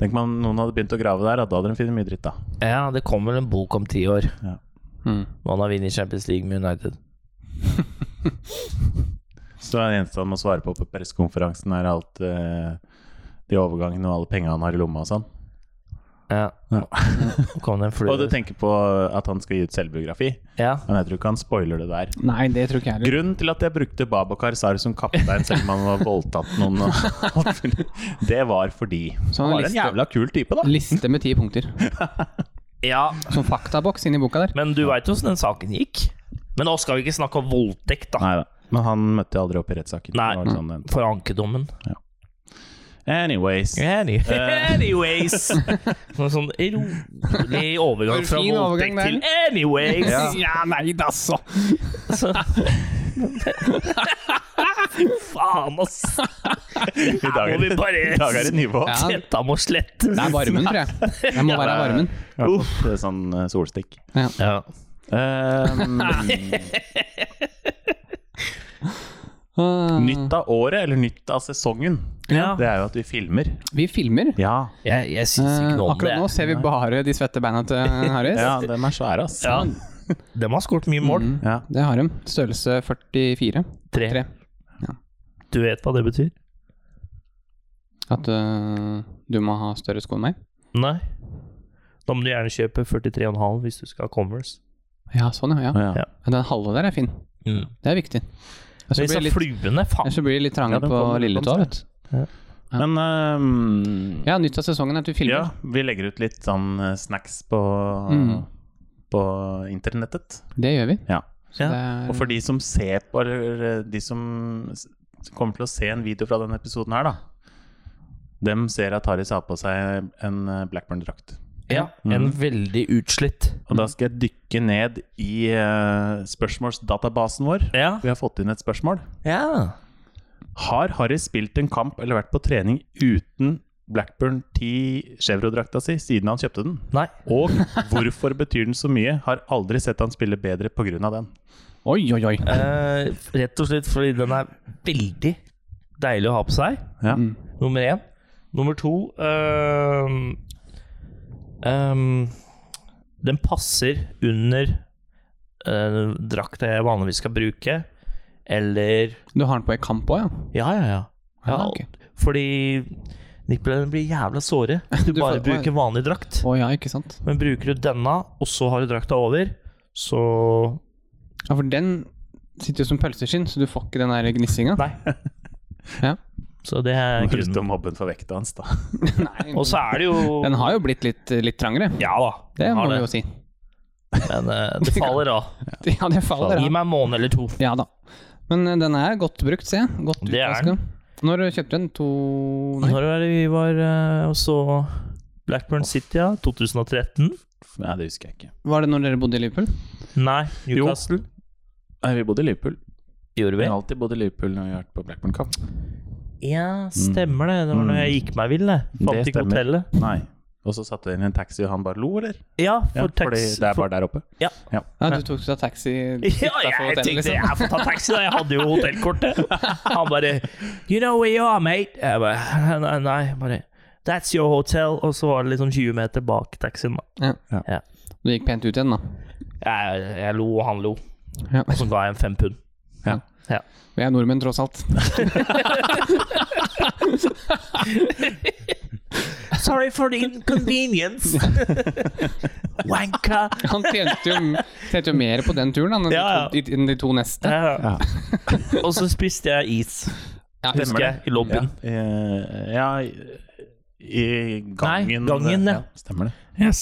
[SPEAKER 1] Tenk om han- noen hadde begynt å grave der, at da hadde de funnet mye dritt, da.
[SPEAKER 3] Ja, det kommer en bok om ti år.
[SPEAKER 2] Mm.
[SPEAKER 3] Hvor han har vunnet Champions League med United.
[SPEAKER 1] Så det eneste han må svare på på pressekonferansen, er alt eh, de overgangene og alle pengene han har i lomma og sånn.
[SPEAKER 3] Ja.
[SPEAKER 1] Ja.
[SPEAKER 3] Så Kom det en
[SPEAKER 1] Og du
[SPEAKER 3] flue.
[SPEAKER 1] tenker på at han skal gi ut selvbiografi,
[SPEAKER 3] Ja.
[SPEAKER 1] men jeg tror ikke han spoiler det der.
[SPEAKER 2] Nei, det tror ikke jeg heller.
[SPEAKER 1] Grunnen til at jeg brukte Babakar Sar som kaptein selv om han var voldtatt noen, og alt mulig, det var fordi
[SPEAKER 2] Så
[SPEAKER 1] han
[SPEAKER 2] han
[SPEAKER 1] var en
[SPEAKER 2] liste,
[SPEAKER 1] jævla kul type, da.
[SPEAKER 2] liste med ti punkter.
[SPEAKER 3] Ja,
[SPEAKER 2] Sånn faktaboks inni boka der.
[SPEAKER 3] men du veit åssen den saken gikk. Men nå skal vi ikke snakke om voldtekt, da.
[SPEAKER 1] Nei da. Men han møtte jeg aldri opp i rettssaken.
[SPEAKER 3] Nei.
[SPEAKER 1] Det var Sånn, en-
[SPEAKER 3] For ankedommen.
[SPEAKER 1] Anyways.
[SPEAKER 3] Any. Anyways! Noe sånn rolig overgang fra
[SPEAKER 2] Fin overgang
[SPEAKER 3] voldtekt til anyways.
[SPEAKER 1] Ja.
[SPEAKER 2] nei da, så.
[SPEAKER 3] Så. Faen, ass!
[SPEAKER 1] I dag
[SPEAKER 3] Her
[SPEAKER 1] er
[SPEAKER 3] må vi
[SPEAKER 1] det,
[SPEAKER 3] bare
[SPEAKER 1] i dag er det nivå.
[SPEAKER 2] Ja.
[SPEAKER 3] Dette må slettes.
[SPEAKER 2] Det er varmen, tror jeg. Jeg må være varmen.
[SPEAKER 1] Jeg har fått eh, sånn eh, solstikk.
[SPEAKER 3] Ja.
[SPEAKER 1] Ehm,
[SPEAKER 2] Ah.
[SPEAKER 1] nytt av året, eller nytt av sesongen,
[SPEAKER 3] ja.
[SPEAKER 1] det er jo at vi filmer.
[SPEAKER 2] Vi filmer.
[SPEAKER 1] Ja,
[SPEAKER 3] Jeg, jeg syns
[SPEAKER 2] Eh,
[SPEAKER 3] ikke noe om det.
[SPEAKER 2] akkurat nå ser vi bare de svette beina til Harris.
[SPEAKER 1] ja de er svære, ass.
[SPEAKER 3] Ja. De har skåret mye mål.
[SPEAKER 2] Mm,
[SPEAKER 1] Ja.
[SPEAKER 2] det har de. Størrelse 44.
[SPEAKER 3] Tre.
[SPEAKER 2] Tre.
[SPEAKER 3] Du vet hva det betyr?
[SPEAKER 2] At øh, du må ha større sko enn meg.
[SPEAKER 3] Nei. Da må du gjerne kjøpe 43,5 hvis du skal ha Converse.
[SPEAKER 2] Ja, sånn, ja. ja.
[SPEAKER 1] Ja.
[SPEAKER 3] Ja.
[SPEAKER 2] Men den halve der er fin.
[SPEAKER 3] Mm.
[SPEAKER 2] Det er viktig. Ellers så
[SPEAKER 3] Disse
[SPEAKER 2] blir det litt,
[SPEAKER 3] fluene, faen.
[SPEAKER 2] ellers så blir det litt trange
[SPEAKER 1] Ja, den
[SPEAKER 2] på
[SPEAKER 1] kom-
[SPEAKER 2] lilletåa,
[SPEAKER 1] kom
[SPEAKER 2] vet du.
[SPEAKER 1] Men ehm,
[SPEAKER 2] Ja, nytt av sesongen er at vi
[SPEAKER 1] ja,
[SPEAKER 2] filmer.
[SPEAKER 1] vi legger ut litt sånn eh, snacks på,
[SPEAKER 2] Mm.
[SPEAKER 1] på internettet.
[SPEAKER 2] Det gjør vi.
[SPEAKER 1] Ja.
[SPEAKER 2] Så
[SPEAKER 3] Ja,
[SPEAKER 2] det er-
[SPEAKER 1] Og for de som ser på, eller eh, de som s- kommer til å se en video fra denne episoden her, da. Dem ser at Haris har på seg en eh, Blackburn-drakt.
[SPEAKER 3] Ja, en veldig utslitt.
[SPEAKER 1] Og da skal jeg dykke ned i eh, spørsmålsdatabasen vår.
[SPEAKER 3] Ja.
[SPEAKER 1] Vi har fått inn et spørsmål.
[SPEAKER 3] ja.
[SPEAKER 1] Har Harry spilt en kamp eller vært på trening uten Blackburn 10 Chevro-drakta si siden han kjøpte den?
[SPEAKER 3] Nei.
[SPEAKER 1] Og hvorfor betyr den så mye? Har aldri sett han spille bedre pga. den.
[SPEAKER 2] Oi, oi, oi.
[SPEAKER 3] Eh, rett og slett fordi den er veldig deilig å ha på seg.
[SPEAKER 1] Ja.
[SPEAKER 2] Mm.
[SPEAKER 3] Nummer én. Nummer to ehm, ehm, Den passer under uh, drakta jeg vanligvis skal bruke. Eller
[SPEAKER 2] Du har den på i kamp òg, ja?
[SPEAKER 3] Ja, ja, ja. ja
[SPEAKER 2] Ja, ok.
[SPEAKER 3] Fordi nipplene blir jævla såre. hvis Du
[SPEAKER 2] Du
[SPEAKER 3] bare
[SPEAKER 2] får-
[SPEAKER 3] bruker vanlig drakt.
[SPEAKER 2] Å ja, ikke sant.
[SPEAKER 3] Men bruker du denne, og så har du drakta over, så
[SPEAKER 2] Ja, for den sitter jo som pølseskinn, så du får ikke den der gnissinga.
[SPEAKER 3] Nei.
[SPEAKER 2] Ja.
[SPEAKER 3] Så det er
[SPEAKER 1] Lyst til å
[SPEAKER 3] grunnen.
[SPEAKER 1] mobbe den for vekta hans, da.
[SPEAKER 2] Nei,
[SPEAKER 3] Og så er det jo
[SPEAKER 2] Den har jo blitt litt, litt trangere.
[SPEAKER 3] Ja da.
[SPEAKER 2] Det
[SPEAKER 3] den
[SPEAKER 2] må
[SPEAKER 3] har
[SPEAKER 2] vi jo si.
[SPEAKER 3] Men eh, det faller av.
[SPEAKER 2] Ja, det faller.
[SPEAKER 3] Gi
[SPEAKER 2] Ja.
[SPEAKER 3] meg en måned eller to.
[SPEAKER 2] ja da. Men eh, den er godt brukt, ser jeg. Godt
[SPEAKER 3] Det er
[SPEAKER 2] utvaska. Når kjøpte du den? To Nei.
[SPEAKER 3] Når var det vi var eh, og så Blackburn City, ja? 2013?
[SPEAKER 1] Nei, det husker jeg ikke.
[SPEAKER 2] Var det når dere bodde i Liverpool?
[SPEAKER 3] Nei,
[SPEAKER 1] Jo.
[SPEAKER 3] Newcastle.
[SPEAKER 1] Nei, vi bodde i Liverpool.
[SPEAKER 3] Gjorde
[SPEAKER 1] Vi
[SPEAKER 3] vi?
[SPEAKER 1] har alltid bodd i Liverpool når vi har vært på Blackburn-kamp.
[SPEAKER 3] Ja, stemmer det.
[SPEAKER 2] Mm.
[SPEAKER 3] Det var når jeg gikk meg vill, det. Fant
[SPEAKER 1] Det
[SPEAKER 3] ikke
[SPEAKER 1] stemmer.
[SPEAKER 3] hotellet.
[SPEAKER 1] Nei. Og så satte vi inn i en taxi, og han bare lo, eller?
[SPEAKER 3] Ja,
[SPEAKER 1] Ja,
[SPEAKER 3] for
[SPEAKER 1] fordi
[SPEAKER 3] tax...
[SPEAKER 1] det er
[SPEAKER 3] for-
[SPEAKER 1] bare der oppe.
[SPEAKER 3] Ja.
[SPEAKER 2] Ja, du tok deg taxi
[SPEAKER 3] Ja,
[SPEAKER 2] utenfor
[SPEAKER 3] jeg
[SPEAKER 2] hotellet,
[SPEAKER 3] tenkte
[SPEAKER 2] liksom.
[SPEAKER 3] jeg får ta taxi, da. Jeg hadde jo hotellkortet. Han bare You know where you are, mate. Jeg bare Nei, nei bare That's your hotel. Og så var det liksom 20 meter bak taxien, da.
[SPEAKER 2] Du gikk pent ut igjen, da.
[SPEAKER 3] Jeg, jeg lo, og han lo.
[SPEAKER 2] Ja.
[SPEAKER 3] Og så ga jeg en fem pund.
[SPEAKER 2] Vi er nordmenn, tross alt.
[SPEAKER 3] Sorry for the inconvenience. Wanka.
[SPEAKER 2] Han tjente jo, tjente jo mer på den turen da, enn de,
[SPEAKER 3] Ja, ja.
[SPEAKER 2] to- enn de to neste.
[SPEAKER 3] Ja. og så spiste jeg is,
[SPEAKER 2] Ja,
[SPEAKER 3] husker jeg, i lobbyen.
[SPEAKER 1] Eh, ja, i, i gangen.
[SPEAKER 3] gangen, ja.
[SPEAKER 1] Stemmer det.
[SPEAKER 3] Yes.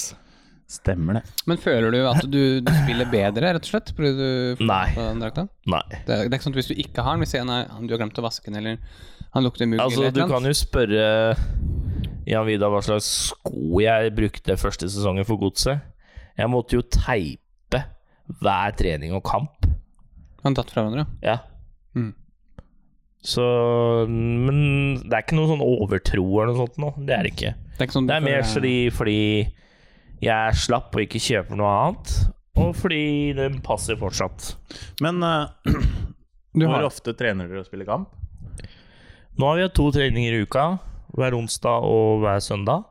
[SPEAKER 1] Stemmer det.
[SPEAKER 2] Men føler du at du, du spiller bedre, rett og slett? Fordi du får
[SPEAKER 3] Nei.
[SPEAKER 2] på den drakta?
[SPEAKER 3] Nei.
[SPEAKER 2] Det, er- det er ikke sånn at hvis du ikke har den, hvis en er, du har glemt å vaske den, eller han lukter mugg
[SPEAKER 3] Altså,
[SPEAKER 2] eller et
[SPEAKER 3] du
[SPEAKER 2] eller
[SPEAKER 3] kan
[SPEAKER 2] annet.
[SPEAKER 3] jo spørre Jan Vidar hva slags sko jeg brukte første sesongen for Godset. Jeg måtte jo teipe hver trening og kamp.
[SPEAKER 2] Han datt fra hverandre.
[SPEAKER 3] Ja.
[SPEAKER 2] Mm.
[SPEAKER 3] Så Men det er ikke noe sånn overtro eller noe sånt nå. Det er det ikke.
[SPEAKER 2] Det er, ikke sånn du
[SPEAKER 3] Det er mer
[SPEAKER 2] føler-
[SPEAKER 3] fordi, fordi jeg er slapp og ikke kjøper noe annet. Og fordi den passer fortsatt.
[SPEAKER 1] Men eh,
[SPEAKER 2] du
[SPEAKER 1] hvor
[SPEAKER 2] har,
[SPEAKER 1] ofte trener dere å spille kamp?
[SPEAKER 3] Nå har vi hatt to treninger i uka. Hver onsdag og hver søndag.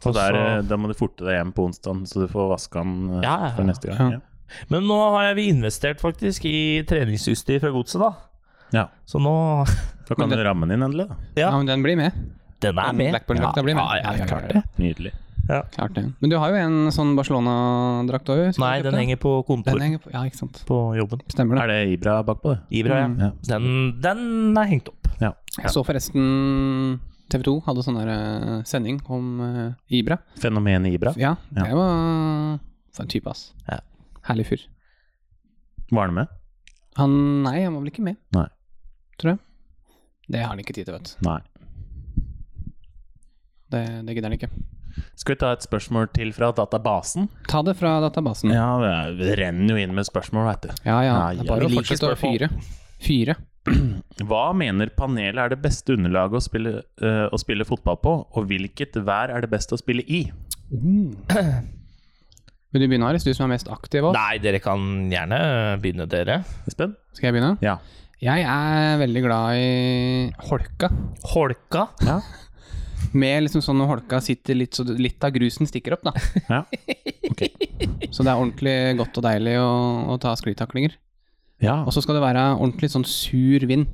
[SPEAKER 1] Så
[SPEAKER 3] Og så-
[SPEAKER 1] der,
[SPEAKER 2] Altså-
[SPEAKER 1] eh, da må du forte deg hjem på onsdag, så du får vaske den eh,
[SPEAKER 3] Ja, ja, ja.
[SPEAKER 1] for neste gang.
[SPEAKER 2] Ja.
[SPEAKER 3] Men nå har vi investert faktisk i treningsutstyr fra godset, da.
[SPEAKER 1] Ja.
[SPEAKER 3] Så nå
[SPEAKER 1] Da kan
[SPEAKER 2] Men
[SPEAKER 1] du ramme den inn endelig, da.
[SPEAKER 2] ja.
[SPEAKER 3] ja.
[SPEAKER 2] men den blir med.
[SPEAKER 3] Den er med.
[SPEAKER 2] Blackburn-drakta blir med.
[SPEAKER 3] Ja, ja,
[SPEAKER 2] Ja, ja, ja,
[SPEAKER 3] ja, klart
[SPEAKER 2] ja.
[SPEAKER 3] det.
[SPEAKER 1] Nydelig.
[SPEAKER 2] Klart det. Men du har jo en sånn Barcelona-drakt òg?
[SPEAKER 3] Nei, den henger på
[SPEAKER 2] den
[SPEAKER 3] kontor
[SPEAKER 2] henger på. Ja, ikke sant.
[SPEAKER 3] på jobben.
[SPEAKER 2] Stemmer det.
[SPEAKER 1] Er det Ibra bakpå, det?
[SPEAKER 2] Mm.
[SPEAKER 3] Ibra, ja.
[SPEAKER 1] Ja.
[SPEAKER 3] Den, den er hengt opp.
[SPEAKER 2] Jeg så forresten TV 2 hadde sånn der eh, sending om eh, Ibra.
[SPEAKER 1] Fenomenet Ibra.
[SPEAKER 2] Ja, det var for en type, ass.
[SPEAKER 3] Ja.
[SPEAKER 2] Herlig fyr.
[SPEAKER 1] Var han med?
[SPEAKER 2] Han Nei, han var vel ikke med.
[SPEAKER 1] Nei.
[SPEAKER 2] Tror jeg. Det har han ikke tid til, vet du.
[SPEAKER 1] Nei.
[SPEAKER 2] Det, det gidder han ikke.
[SPEAKER 1] Skal vi ta et spørsmål til fra databasen?
[SPEAKER 2] Ta det fra databasen. Ja,
[SPEAKER 1] Ja, det er- det renner jo inn med spørsmål, veit du.
[SPEAKER 2] ja.
[SPEAKER 1] Ja,
[SPEAKER 2] det
[SPEAKER 1] ja,
[SPEAKER 2] er bare
[SPEAKER 1] vi
[SPEAKER 2] å
[SPEAKER 1] liker
[SPEAKER 2] fortsette å
[SPEAKER 1] spørsmål.
[SPEAKER 2] fyre. Fyre.
[SPEAKER 1] Hva mener panelet er det beste underlaget å spille, eh, å spille fotball på, og hvilket vær er det best å spille i?
[SPEAKER 2] Mm. Vil du begynne, Aris? Du som er mest aktiv av oss.
[SPEAKER 3] Nei, dere kan gjerne begynne, dere.
[SPEAKER 1] Espen?
[SPEAKER 2] Skal jeg begynne?
[SPEAKER 1] Ja.
[SPEAKER 2] Jeg er veldig glad i holka.
[SPEAKER 3] Holka.
[SPEAKER 2] Med liksom sånn når holka sitter litt så du- litt av grusen stikker opp, da.
[SPEAKER 1] Ja.
[SPEAKER 2] Så det er ordentlig godt og deilig å, å ta sklitaklinger.
[SPEAKER 1] ja.
[SPEAKER 2] Og så skal det være ordentlig sånn sur vind.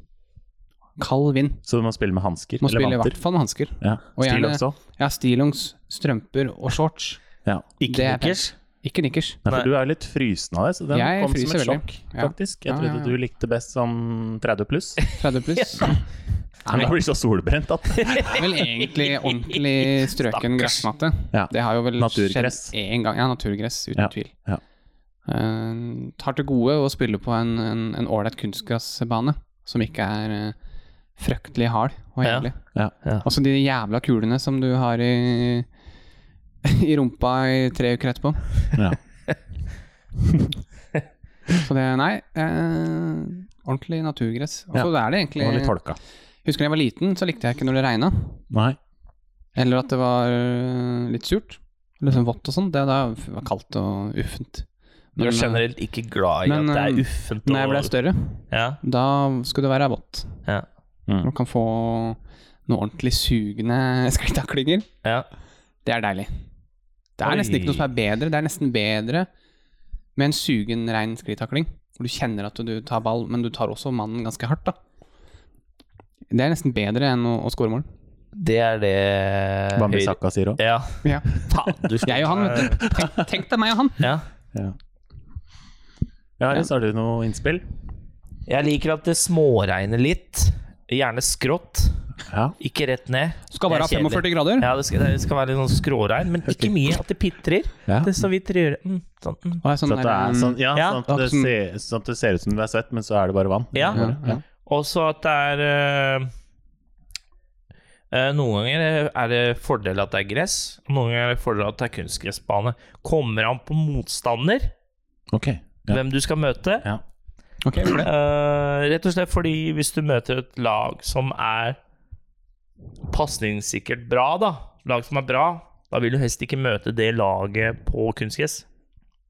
[SPEAKER 2] Kald vind.
[SPEAKER 1] Så du må spille med hansker
[SPEAKER 2] Må spille
[SPEAKER 1] eller
[SPEAKER 2] i hvert
[SPEAKER 1] vanter?
[SPEAKER 2] fall med hansker.
[SPEAKER 1] Ja.
[SPEAKER 2] Og
[SPEAKER 1] Stil
[SPEAKER 2] gjerne-
[SPEAKER 1] også?
[SPEAKER 2] Ja, stillongs, strømper og shorts.
[SPEAKER 1] Ja.
[SPEAKER 2] Det
[SPEAKER 3] Ikke
[SPEAKER 2] er
[SPEAKER 3] nikkers.
[SPEAKER 2] Ikke nikkers.
[SPEAKER 1] Nei,
[SPEAKER 3] Nei.
[SPEAKER 1] for du er jo litt frysen av det, så den
[SPEAKER 2] Jeg
[SPEAKER 1] kom som
[SPEAKER 2] fryser
[SPEAKER 1] et
[SPEAKER 2] veldig.
[SPEAKER 1] sjokk,
[SPEAKER 2] Ja.
[SPEAKER 1] faktisk. Jeg
[SPEAKER 2] Ja,
[SPEAKER 1] trodde
[SPEAKER 2] ja, ja.
[SPEAKER 1] du likte best sånn 30 pluss.
[SPEAKER 2] 30 pluss.
[SPEAKER 1] Men jeg blir så solbrent at
[SPEAKER 2] Det er Vel egentlig ordentlig strøken gressmatte.
[SPEAKER 1] Ja.
[SPEAKER 2] Det har jo vel
[SPEAKER 1] Naturgress.
[SPEAKER 2] skjedd én gang. Ja, naturgress, uten
[SPEAKER 1] Ja,
[SPEAKER 2] tvil.
[SPEAKER 1] ja.
[SPEAKER 2] Eh, tar til gode å spille på en en- en ålreit kunstgressbane som ikke er eh, fryktelig hard og
[SPEAKER 3] Ja.
[SPEAKER 2] jævlig.
[SPEAKER 1] Ja,
[SPEAKER 3] ja.
[SPEAKER 2] Også de jævla kulene som du har i, i rumpa i tre uker etterpå.
[SPEAKER 1] Ja.
[SPEAKER 2] Så det Nei. eh, ordentlig naturgress. Og så er det egentlig
[SPEAKER 1] Og litt holka.
[SPEAKER 2] Husker da jeg var liten, så likte jeg ikke når det regna.
[SPEAKER 1] Nei.
[SPEAKER 2] Eller at det var øh, litt surt. Litt sånn vått og sånn. Det da var kaldt og uffent.
[SPEAKER 3] Du er
[SPEAKER 2] øh,
[SPEAKER 3] generelt ikke glad i
[SPEAKER 2] men,
[SPEAKER 3] at det
[SPEAKER 2] eh,
[SPEAKER 3] er uffent
[SPEAKER 2] når jeg ble større,
[SPEAKER 3] ja.
[SPEAKER 2] da skulle det være vått. Du
[SPEAKER 1] Mm.
[SPEAKER 2] kan få noen ordentlig sugende sklitaklinger.
[SPEAKER 3] ja.
[SPEAKER 2] Det er deilig. Det er
[SPEAKER 3] Oi.
[SPEAKER 2] nesten ikke noe som er bedre. Det er nesten bedre med en sugen, rein sklitakling. Hvor du kjenner at du tar ball, men du tar også mannen ganske hardt, da. Det er nesten bedre enn å, å score mål.
[SPEAKER 3] Det er det
[SPEAKER 1] Bambi Saka sier òg.
[SPEAKER 3] Ja.
[SPEAKER 2] Ja.
[SPEAKER 3] Faen, du skal
[SPEAKER 2] Jeg og han, vet du. Tenk, tenk deg meg og han.
[SPEAKER 3] Ja.
[SPEAKER 1] Ja, Aris, har du noe innspill?
[SPEAKER 3] Jeg liker at det småregner litt. Gjerne skrått.
[SPEAKER 1] Ja.
[SPEAKER 3] Ikke rett ned.
[SPEAKER 2] Skal bare ha
[SPEAKER 3] Det er kjedelig.
[SPEAKER 2] 45 grader.
[SPEAKER 3] Ja, det skal, det skal være litt sånn skråregn, men ikke mye. At det pitrer.
[SPEAKER 1] Ja.
[SPEAKER 3] Det er så vidt rører mm, sånn, mm.
[SPEAKER 2] Og er sånn
[SPEAKER 1] Så at det
[SPEAKER 2] der,
[SPEAKER 1] er sånn, ja,
[SPEAKER 3] Ja.
[SPEAKER 1] sånn, at det
[SPEAKER 2] Sånn-
[SPEAKER 1] ser, sånn at det ser ut som du er svett, men så er det bare vann.
[SPEAKER 3] Ja.
[SPEAKER 2] Ja, ja.
[SPEAKER 3] Og så at det er eh, eh, Noen ganger er det fordel at det er gress, og noen ganger er det fordel at det er kunstgressbane. Kommer an på motstander,
[SPEAKER 1] Ok. Ja.
[SPEAKER 3] hvem du skal møte.
[SPEAKER 1] Ja.
[SPEAKER 2] Ok, for det.
[SPEAKER 3] Eh, rett og slett fordi hvis du møter et lag som er pasningssikkert bra, da Lag som er bra, da vil du helst ikke møte det laget på kunstgress.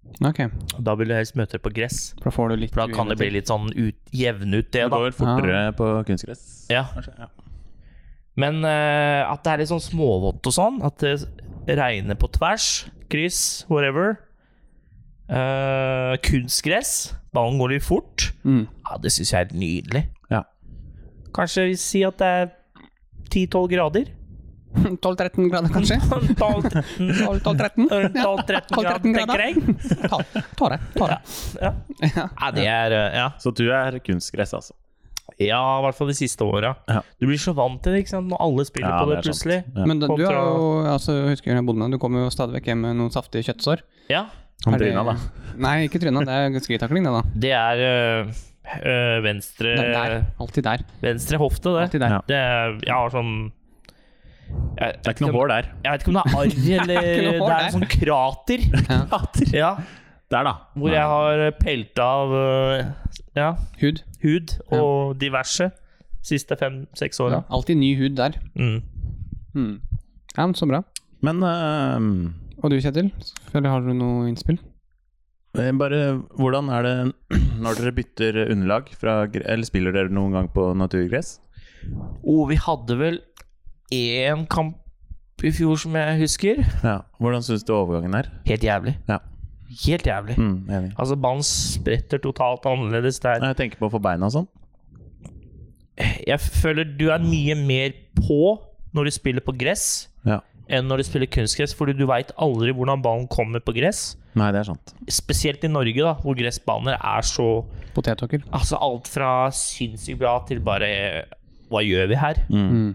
[SPEAKER 2] Mm. Ok,
[SPEAKER 3] Da vil du helst møte det på gress.
[SPEAKER 2] for da får du litt
[SPEAKER 3] For da kan det bli litt sånn ut, jevne ut det,
[SPEAKER 1] Det
[SPEAKER 3] da.
[SPEAKER 1] går fortere på kunstgress.
[SPEAKER 3] Ja.
[SPEAKER 1] Kanskje, ja.
[SPEAKER 3] Men eh, at det er litt sånn småvått og sånn, at det regner på tvers, kryss, whatever. Eh, kunstgress, ballen går litt fort.
[SPEAKER 2] Mm.
[SPEAKER 3] Ja, det syns jeg er nydelig.
[SPEAKER 1] Ja.
[SPEAKER 3] Kanskje vi si at det er 10-12 grader.
[SPEAKER 2] 12-13 grader, kanskje?
[SPEAKER 3] 12-13
[SPEAKER 2] 12-13?
[SPEAKER 3] grader, tenker jeg.
[SPEAKER 2] Tåre. Tåre.
[SPEAKER 3] Ja.
[SPEAKER 2] Ja.
[SPEAKER 3] Ja, det er eh, ja.
[SPEAKER 1] Så du er kunstgress, altså.
[SPEAKER 3] ja, i hvert fall de siste åra.
[SPEAKER 1] Ja.
[SPEAKER 3] Du blir så vant til det ikke sant? når alle spiller
[SPEAKER 1] Ja,
[SPEAKER 3] på
[SPEAKER 1] det
[SPEAKER 3] det,
[SPEAKER 1] er sant.
[SPEAKER 3] plutselig.
[SPEAKER 1] Ja.
[SPEAKER 2] Men da, du har
[SPEAKER 3] Kontra-
[SPEAKER 2] jo altså, jeg husker jeg bodde, Du kommer jo stadig vekk hjem med noen saftige kjøttsår.
[SPEAKER 3] Ja,
[SPEAKER 1] Han
[SPEAKER 2] Er det-
[SPEAKER 1] tryna, da.
[SPEAKER 2] Nei, ikke tryna. Det er sklitakling, det, da.
[SPEAKER 3] Det er øh, øh, venstre
[SPEAKER 2] Det er der. Alltid der.
[SPEAKER 3] Venstre hofte, det.
[SPEAKER 2] Alltid der.
[SPEAKER 1] Ja.
[SPEAKER 3] det er, jeg har sånn jeg,
[SPEAKER 1] Det er ikke noe hår der.
[SPEAKER 3] Jeg vet ikke om det er arr eller
[SPEAKER 2] Det er ikke noe hår
[SPEAKER 3] Det er
[SPEAKER 2] der.
[SPEAKER 3] en sånn krater. Ja,
[SPEAKER 1] Der, da.
[SPEAKER 3] hvor jeg har pelta av øh, ja,
[SPEAKER 2] Hud.
[SPEAKER 3] hud og diverse siste fem-seks
[SPEAKER 2] Ja.
[SPEAKER 3] åra.
[SPEAKER 2] Alltid ny hud der.
[SPEAKER 3] Mm.
[SPEAKER 2] Mm. Ja, men Så bra.
[SPEAKER 1] Men eh,
[SPEAKER 2] Og du, Kjetil? Eller har du noe innspill?
[SPEAKER 1] eh, bare hvordan er det når dere bytter underlag fra gre- Eller spiller dere noen gang på naturgress?
[SPEAKER 3] Og Oh, vi hadde vel én kamp i fjor som jeg husker.
[SPEAKER 1] Ja. Hvordan syns du overgangen er?
[SPEAKER 3] Helt jævlig.
[SPEAKER 1] Ja.
[SPEAKER 3] Helt jævlig.
[SPEAKER 1] Mm, enig.
[SPEAKER 3] Altså, ballen spretter totalt annerledes der.
[SPEAKER 1] Nei, Jeg tenker på å få beina og sånn.
[SPEAKER 3] jeg føler du er mye mer på når du spiller på gress
[SPEAKER 1] Ja.
[SPEAKER 3] enn når du spiller kunstgress, fordi du veit aldri hvordan ballen kommer på gress.
[SPEAKER 1] Nei, det er sant.
[SPEAKER 3] Spesielt i Norge, da, hvor gressbaner er så
[SPEAKER 2] Potetåker.
[SPEAKER 3] Altså alt fra sinnssykt bra til bare eh, Hva gjør vi her?
[SPEAKER 2] Mm.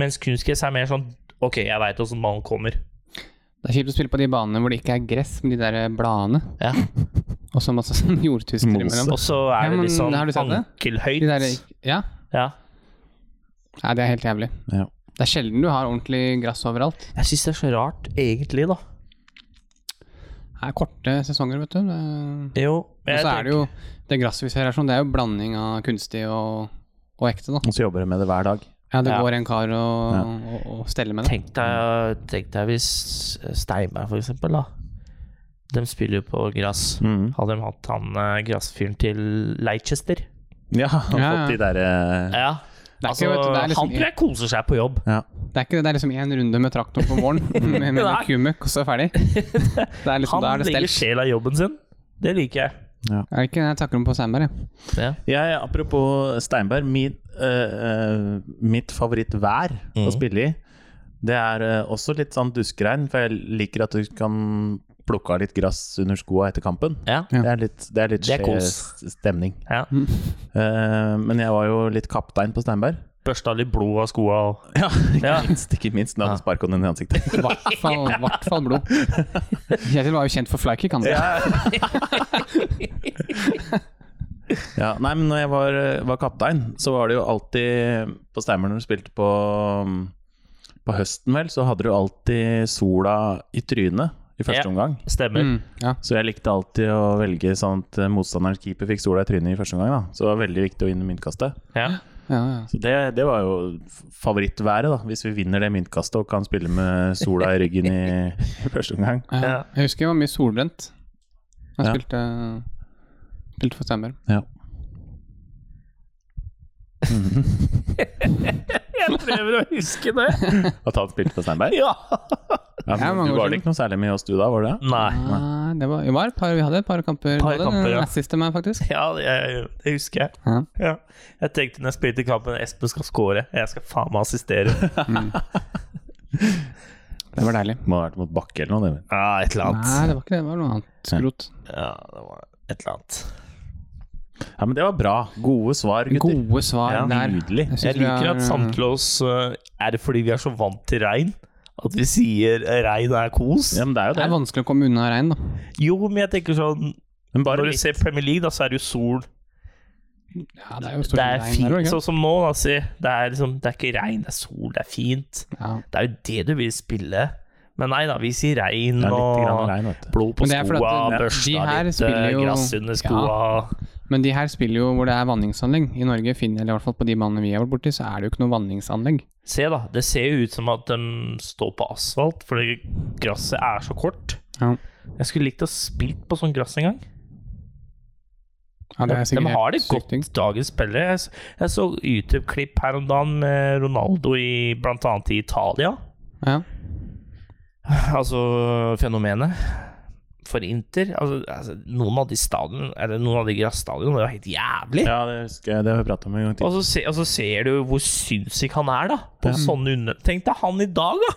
[SPEAKER 3] Mens kunstgress er mer sånn Ok, jeg veit åssen ballen kommer.
[SPEAKER 2] Det er kjipt å spille på de banene hvor det ikke er gress, men de der eh, bladene.
[SPEAKER 3] Ja.
[SPEAKER 2] Og så masse sånn jordtuster
[SPEAKER 1] Mose.
[SPEAKER 2] imellom.
[SPEAKER 3] Og så
[SPEAKER 2] Ja,
[SPEAKER 3] er det
[SPEAKER 2] men
[SPEAKER 3] liksom
[SPEAKER 2] har du sett det?
[SPEAKER 3] ankelhøyt.
[SPEAKER 2] De der, ja.
[SPEAKER 3] Ja.
[SPEAKER 2] Nei, det er helt jævlig.
[SPEAKER 1] Ja.
[SPEAKER 2] Det er sjelden du har ordentlig gress overalt.
[SPEAKER 3] Jeg syns det er så rart, egentlig, da.
[SPEAKER 2] Det er korte sesonger, vet du. Det...
[SPEAKER 3] Jo,
[SPEAKER 2] Og
[SPEAKER 3] jeg
[SPEAKER 2] så er det jo Det gresset vi ser her, sånn, det er jo blanding av kunstig og, og ekte, da.
[SPEAKER 1] Og så jobber jeg med det hver dag.
[SPEAKER 2] Ja, det
[SPEAKER 3] Ja.
[SPEAKER 2] går en kar og, og, og steller med det.
[SPEAKER 3] Tenk deg, tenk deg hvis eh, Steinberg, for eksempel, da. De spiller jo på gress.
[SPEAKER 2] Mm.
[SPEAKER 1] Mhm.
[SPEAKER 3] Hadde de hatt han eh, gressfyren til Leicester
[SPEAKER 1] Ja, har
[SPEAKER 2] Ja, ja.
[SPEAKER 1] fått de eh, derre
[SPEAKER 3] Ja.
[SPEAKER 2] Det er,
[SPEAKER 3] Altså,
[SPEAKER 2] ikke, vet du, det, er
[SPEAKER 3] Han
[SPEAKER 2] liksom,
[SPEAKER 3] tror jeg koser seg på jobb.
[SPEAKER 1] ja.
[SPEAKER 2] det er ikke det, det er liksom én runde med traktor på våren, med, med
[SPEAKER 3] Nei.
[SPEAKER 2] noe kumøkk, og så er ferdig. Det er liksom,
[SPEAKER 3] Han
[SPEAKER 2] da er det
[SPEAKER 3] legger
[SPEAKER 2] stelt.
[SPEAKER 3] sjela i jobben sin. Det liker jeg.
[SPEAKER 2] Er det ikke det jeg takker om på Sandberg, jeg.
[SPEAKER 3] Ja.
[SPEAKER 1] Jeg, apropos Steinberg, min, eh, eh, mitt favorittvær å
[SPEAKER 3] Mhm.
[SPEAKER 1] spille i, det er eh, også litt sånn duskregn, for jeg liker at du kan plukke av litt gress under skoa etter kampen.
[SPEAKER 3] Ja.
[SPEAKER 2] Ja. Mm.
[SPEAKER 1] Det er litt, det er litt
[SPEAKER 3] Det er
[SPEAKER 1] skjev
[SPEAKER 3] kos.
[SPEAKER 1] s- stemning.
[SPEAKER 3] ja.
[SPEAKER 1] Eh, men jeg var jo litt kaptein på Steinberg.
[SPEAKER 3] Børsta litt blod av skoa og
[SPEAKER 1] Ja, ikke
[SPEAKER 3] Ja.
[SPEAKER 1] minst. Ikke minst når
[SPEAKER 3] Ja.
[SPEAKER 1] han sparka den i ansiktet.
[SPEAKER 2] I hvert fall, hvert fall blod. Kjetil var jo kjent for flykick, han.
[SPEAKER 1] Ja, nei, men når jeg var, var kaptein, så var det jo alltid På Steimer når du spilte på På høsten, vel, så hadde du alltid sola i trynet i første
[SPEAKER 3] Ja.
[SPEAKER 1] omgang.
[SPEAKER 3] stemmer.
[SPEAKER 2] Mm, ja.
[SPEAKER 1] Så jeg likte alltid å velge sånn at motstanderens keeper fikk sola i trynet i første omgang. da Så det var veldig viktig å vinne myntkastet.
[SPEAKER 3] Ja.
[SPEAKER 2] Ja, ja.
[SPEAKER 1] Så det, det var jo favorittværet, da. Hvis vi vinner det myntkastet og kan spille med sola i ryggen i, i første omgang.
[SPEAKER 2] Ja.
[SPEAKER 3] Ja.
[SPEAKER 2] Jeg husker jeg var mye solbrent. Jeg
[SPEAKER 1] Ja.
[SPEAKER 2] spilte, eh, spilte for Steinberg.
[SPEAKER 1] Ja.
[SPEAKER 3] Jeg prøver å huske det.
[SPEAKER 1] At han spilte på Steinberg?
[SPEAKER 3] Ja.
[SPEAKER 1] Ja,
[SPEAKER 2] Ja,
[SPEAKER 1] men
[SPEAKER 2] mange
[SPEAKER 1] du
[SPEAKER 2] år
[SPEAKER 1] var
[SPEAKER 2] siden.
[SPEAKER 1] det ikke noe særlig med oss du da, var det?
[SPEAKER 3] Nei.
[SPEAKER 2] Nei, det var, det var et par, vi hadde et par kamper.
[SPEAKER 3] Par
[SPEAKER 2] Var det
[SPEAKER 3] kamper,
[SPEAKER 2] den
[SPEAKER 3] ja.
[SPEAKER 2] nazister meg, faktisk.
[SPEAKER 3] Ja, jeg, det husker jeg.
[SPEAKER 2] Ja.
[SPEAKER 3] Ja. Jeg tenkte når jeg spilte kampen Espen skal score, jeg skal faen meg assistere.
[SPEAKER 2] Det var deilig.
[SPEAKER 1] Må ha vært mot Bakke eller noe. det vel.
[SPEAKER 3] Ja, et eller
[SPEAKER 2] Nei,
[SPEAKER 3] annet.
[SPEAKER 2] det var ikke det. Det var noe annet skrot.
[SPEAKER 3] Ja, det var et eller annet.
[SPEAKER 1] Ja, men det var bra. Gode svar, gutter.
[SPEAKER 2] Gode svar
[SPEAKER 3] Ja,
[SPEAKER 2] der.
[SPEAKER 1] nydelig.
[SPEAKER 2] synes
[SPEAKER 3] Jeg
[SPEAKER 2] vi
[SPEAKER 3] liker
[SPEAKER 2] har,
[SPEAKER 3] at
[SPEAKER 2] eh,
[SPEAKER 3] samtlige av oss eh, Er det fordi vi er så vant til regn? At vi sier eh, regn er kos?
[SPEAKER 1] Ja, men det er jo
[SPEAKER 2] Det
[SPEAKER 1] det.
[SPEAKER 2] er vanskelig å komme unna regn, da.
[SPEAKER 3] Jo, men jeg tenker sånn
[SPEAKER 1] Men bare
[SPEAKER 3] Når du
[SPEAKER 1] litt.
[SPEAKER 3] ser Premier League, da, så er det jo sol.
[SPEAKER 2] Ja, det er jo
[SPEAKER 3] Det
[SPEAKER 2] stort
[SPEAKER 3] er
[SPEAKER 2] sett regn der,
[SPEAKER 3] fint,
[SPEAKER 2] ikke sant?
[SPEAKER 3] sånn som nå. Da, si. det, er liksom, det er ikke regn, det er sol, det er fint.
[SPEAKER 2] Ja.
[SPEAKER 3] Det er jo det du vil spille. Men nei da, vi sier regn
[SPEAKER 1] Det er litt grann
[SPEAKER 3] og
[SPEAKER 1] regn, vet du.
[SPEAKER 3] blod på
[SPEAKER 2] Men det er fordi
[SPEAKER 3] skoa,
[SPEAKER 2] at de- de
[SPEAKER 3] børsta
[SPEAKER 2] her
[SPEAKER 3] litt,
[SPEAKER 2] spiller
[SPEAKER 3] eh,
[SPEAKER 2] jo-
[SPEAKER 3] gress under skoa.
[SPEAKER 2] Men de her spiller jo hvor det er vanningsanlegg. I Norge finner, eller i hvert fall på de banene vi har vært borti, så er det jo ikke noe vanningsanlegg.
[SPEAKER 3] Se da, det ser jo ut som at de står på asfalt, fordi gresset er så kort.
[SPEAKER 2] Ja,
[SPEAKER 3] Jeg skulle likt å spilt på sånn gress en gang.
[SPEAKER 2] ja det er
[SPEAKER 3] de
[SPEAKER 2] sikkert
[SPEAKER 3] har det
[SPEAKER 2] helt sykt
[SPEAKER 3] godt,
[SPEAKER 2] ting.
[SPEAKER 3] dagens spillere. Jeg, s- jeg så YouTube-klipp her om dagen med Ronaldo i blant annet i Italia.
[SPEAKER 2] Ja.
[SPEAKER 3] Altså fenomenet for Inter. Altså, altså, noen av de stadion, eller noen av de gressstadionene var jo helt jævlig.
[SPEAKER 1] Ja, det husker jeg. Det har vi prata om en gang
[SPEAKER 3] Og
[SPEAKER 1] til.
[SPEAKER 3] så, se, og så ser du hvor sinnssyk han er, da. På
[SPEAKER 1] Ja.
[SPEAKER 3] sånne under... Tenk deg han i dag, da!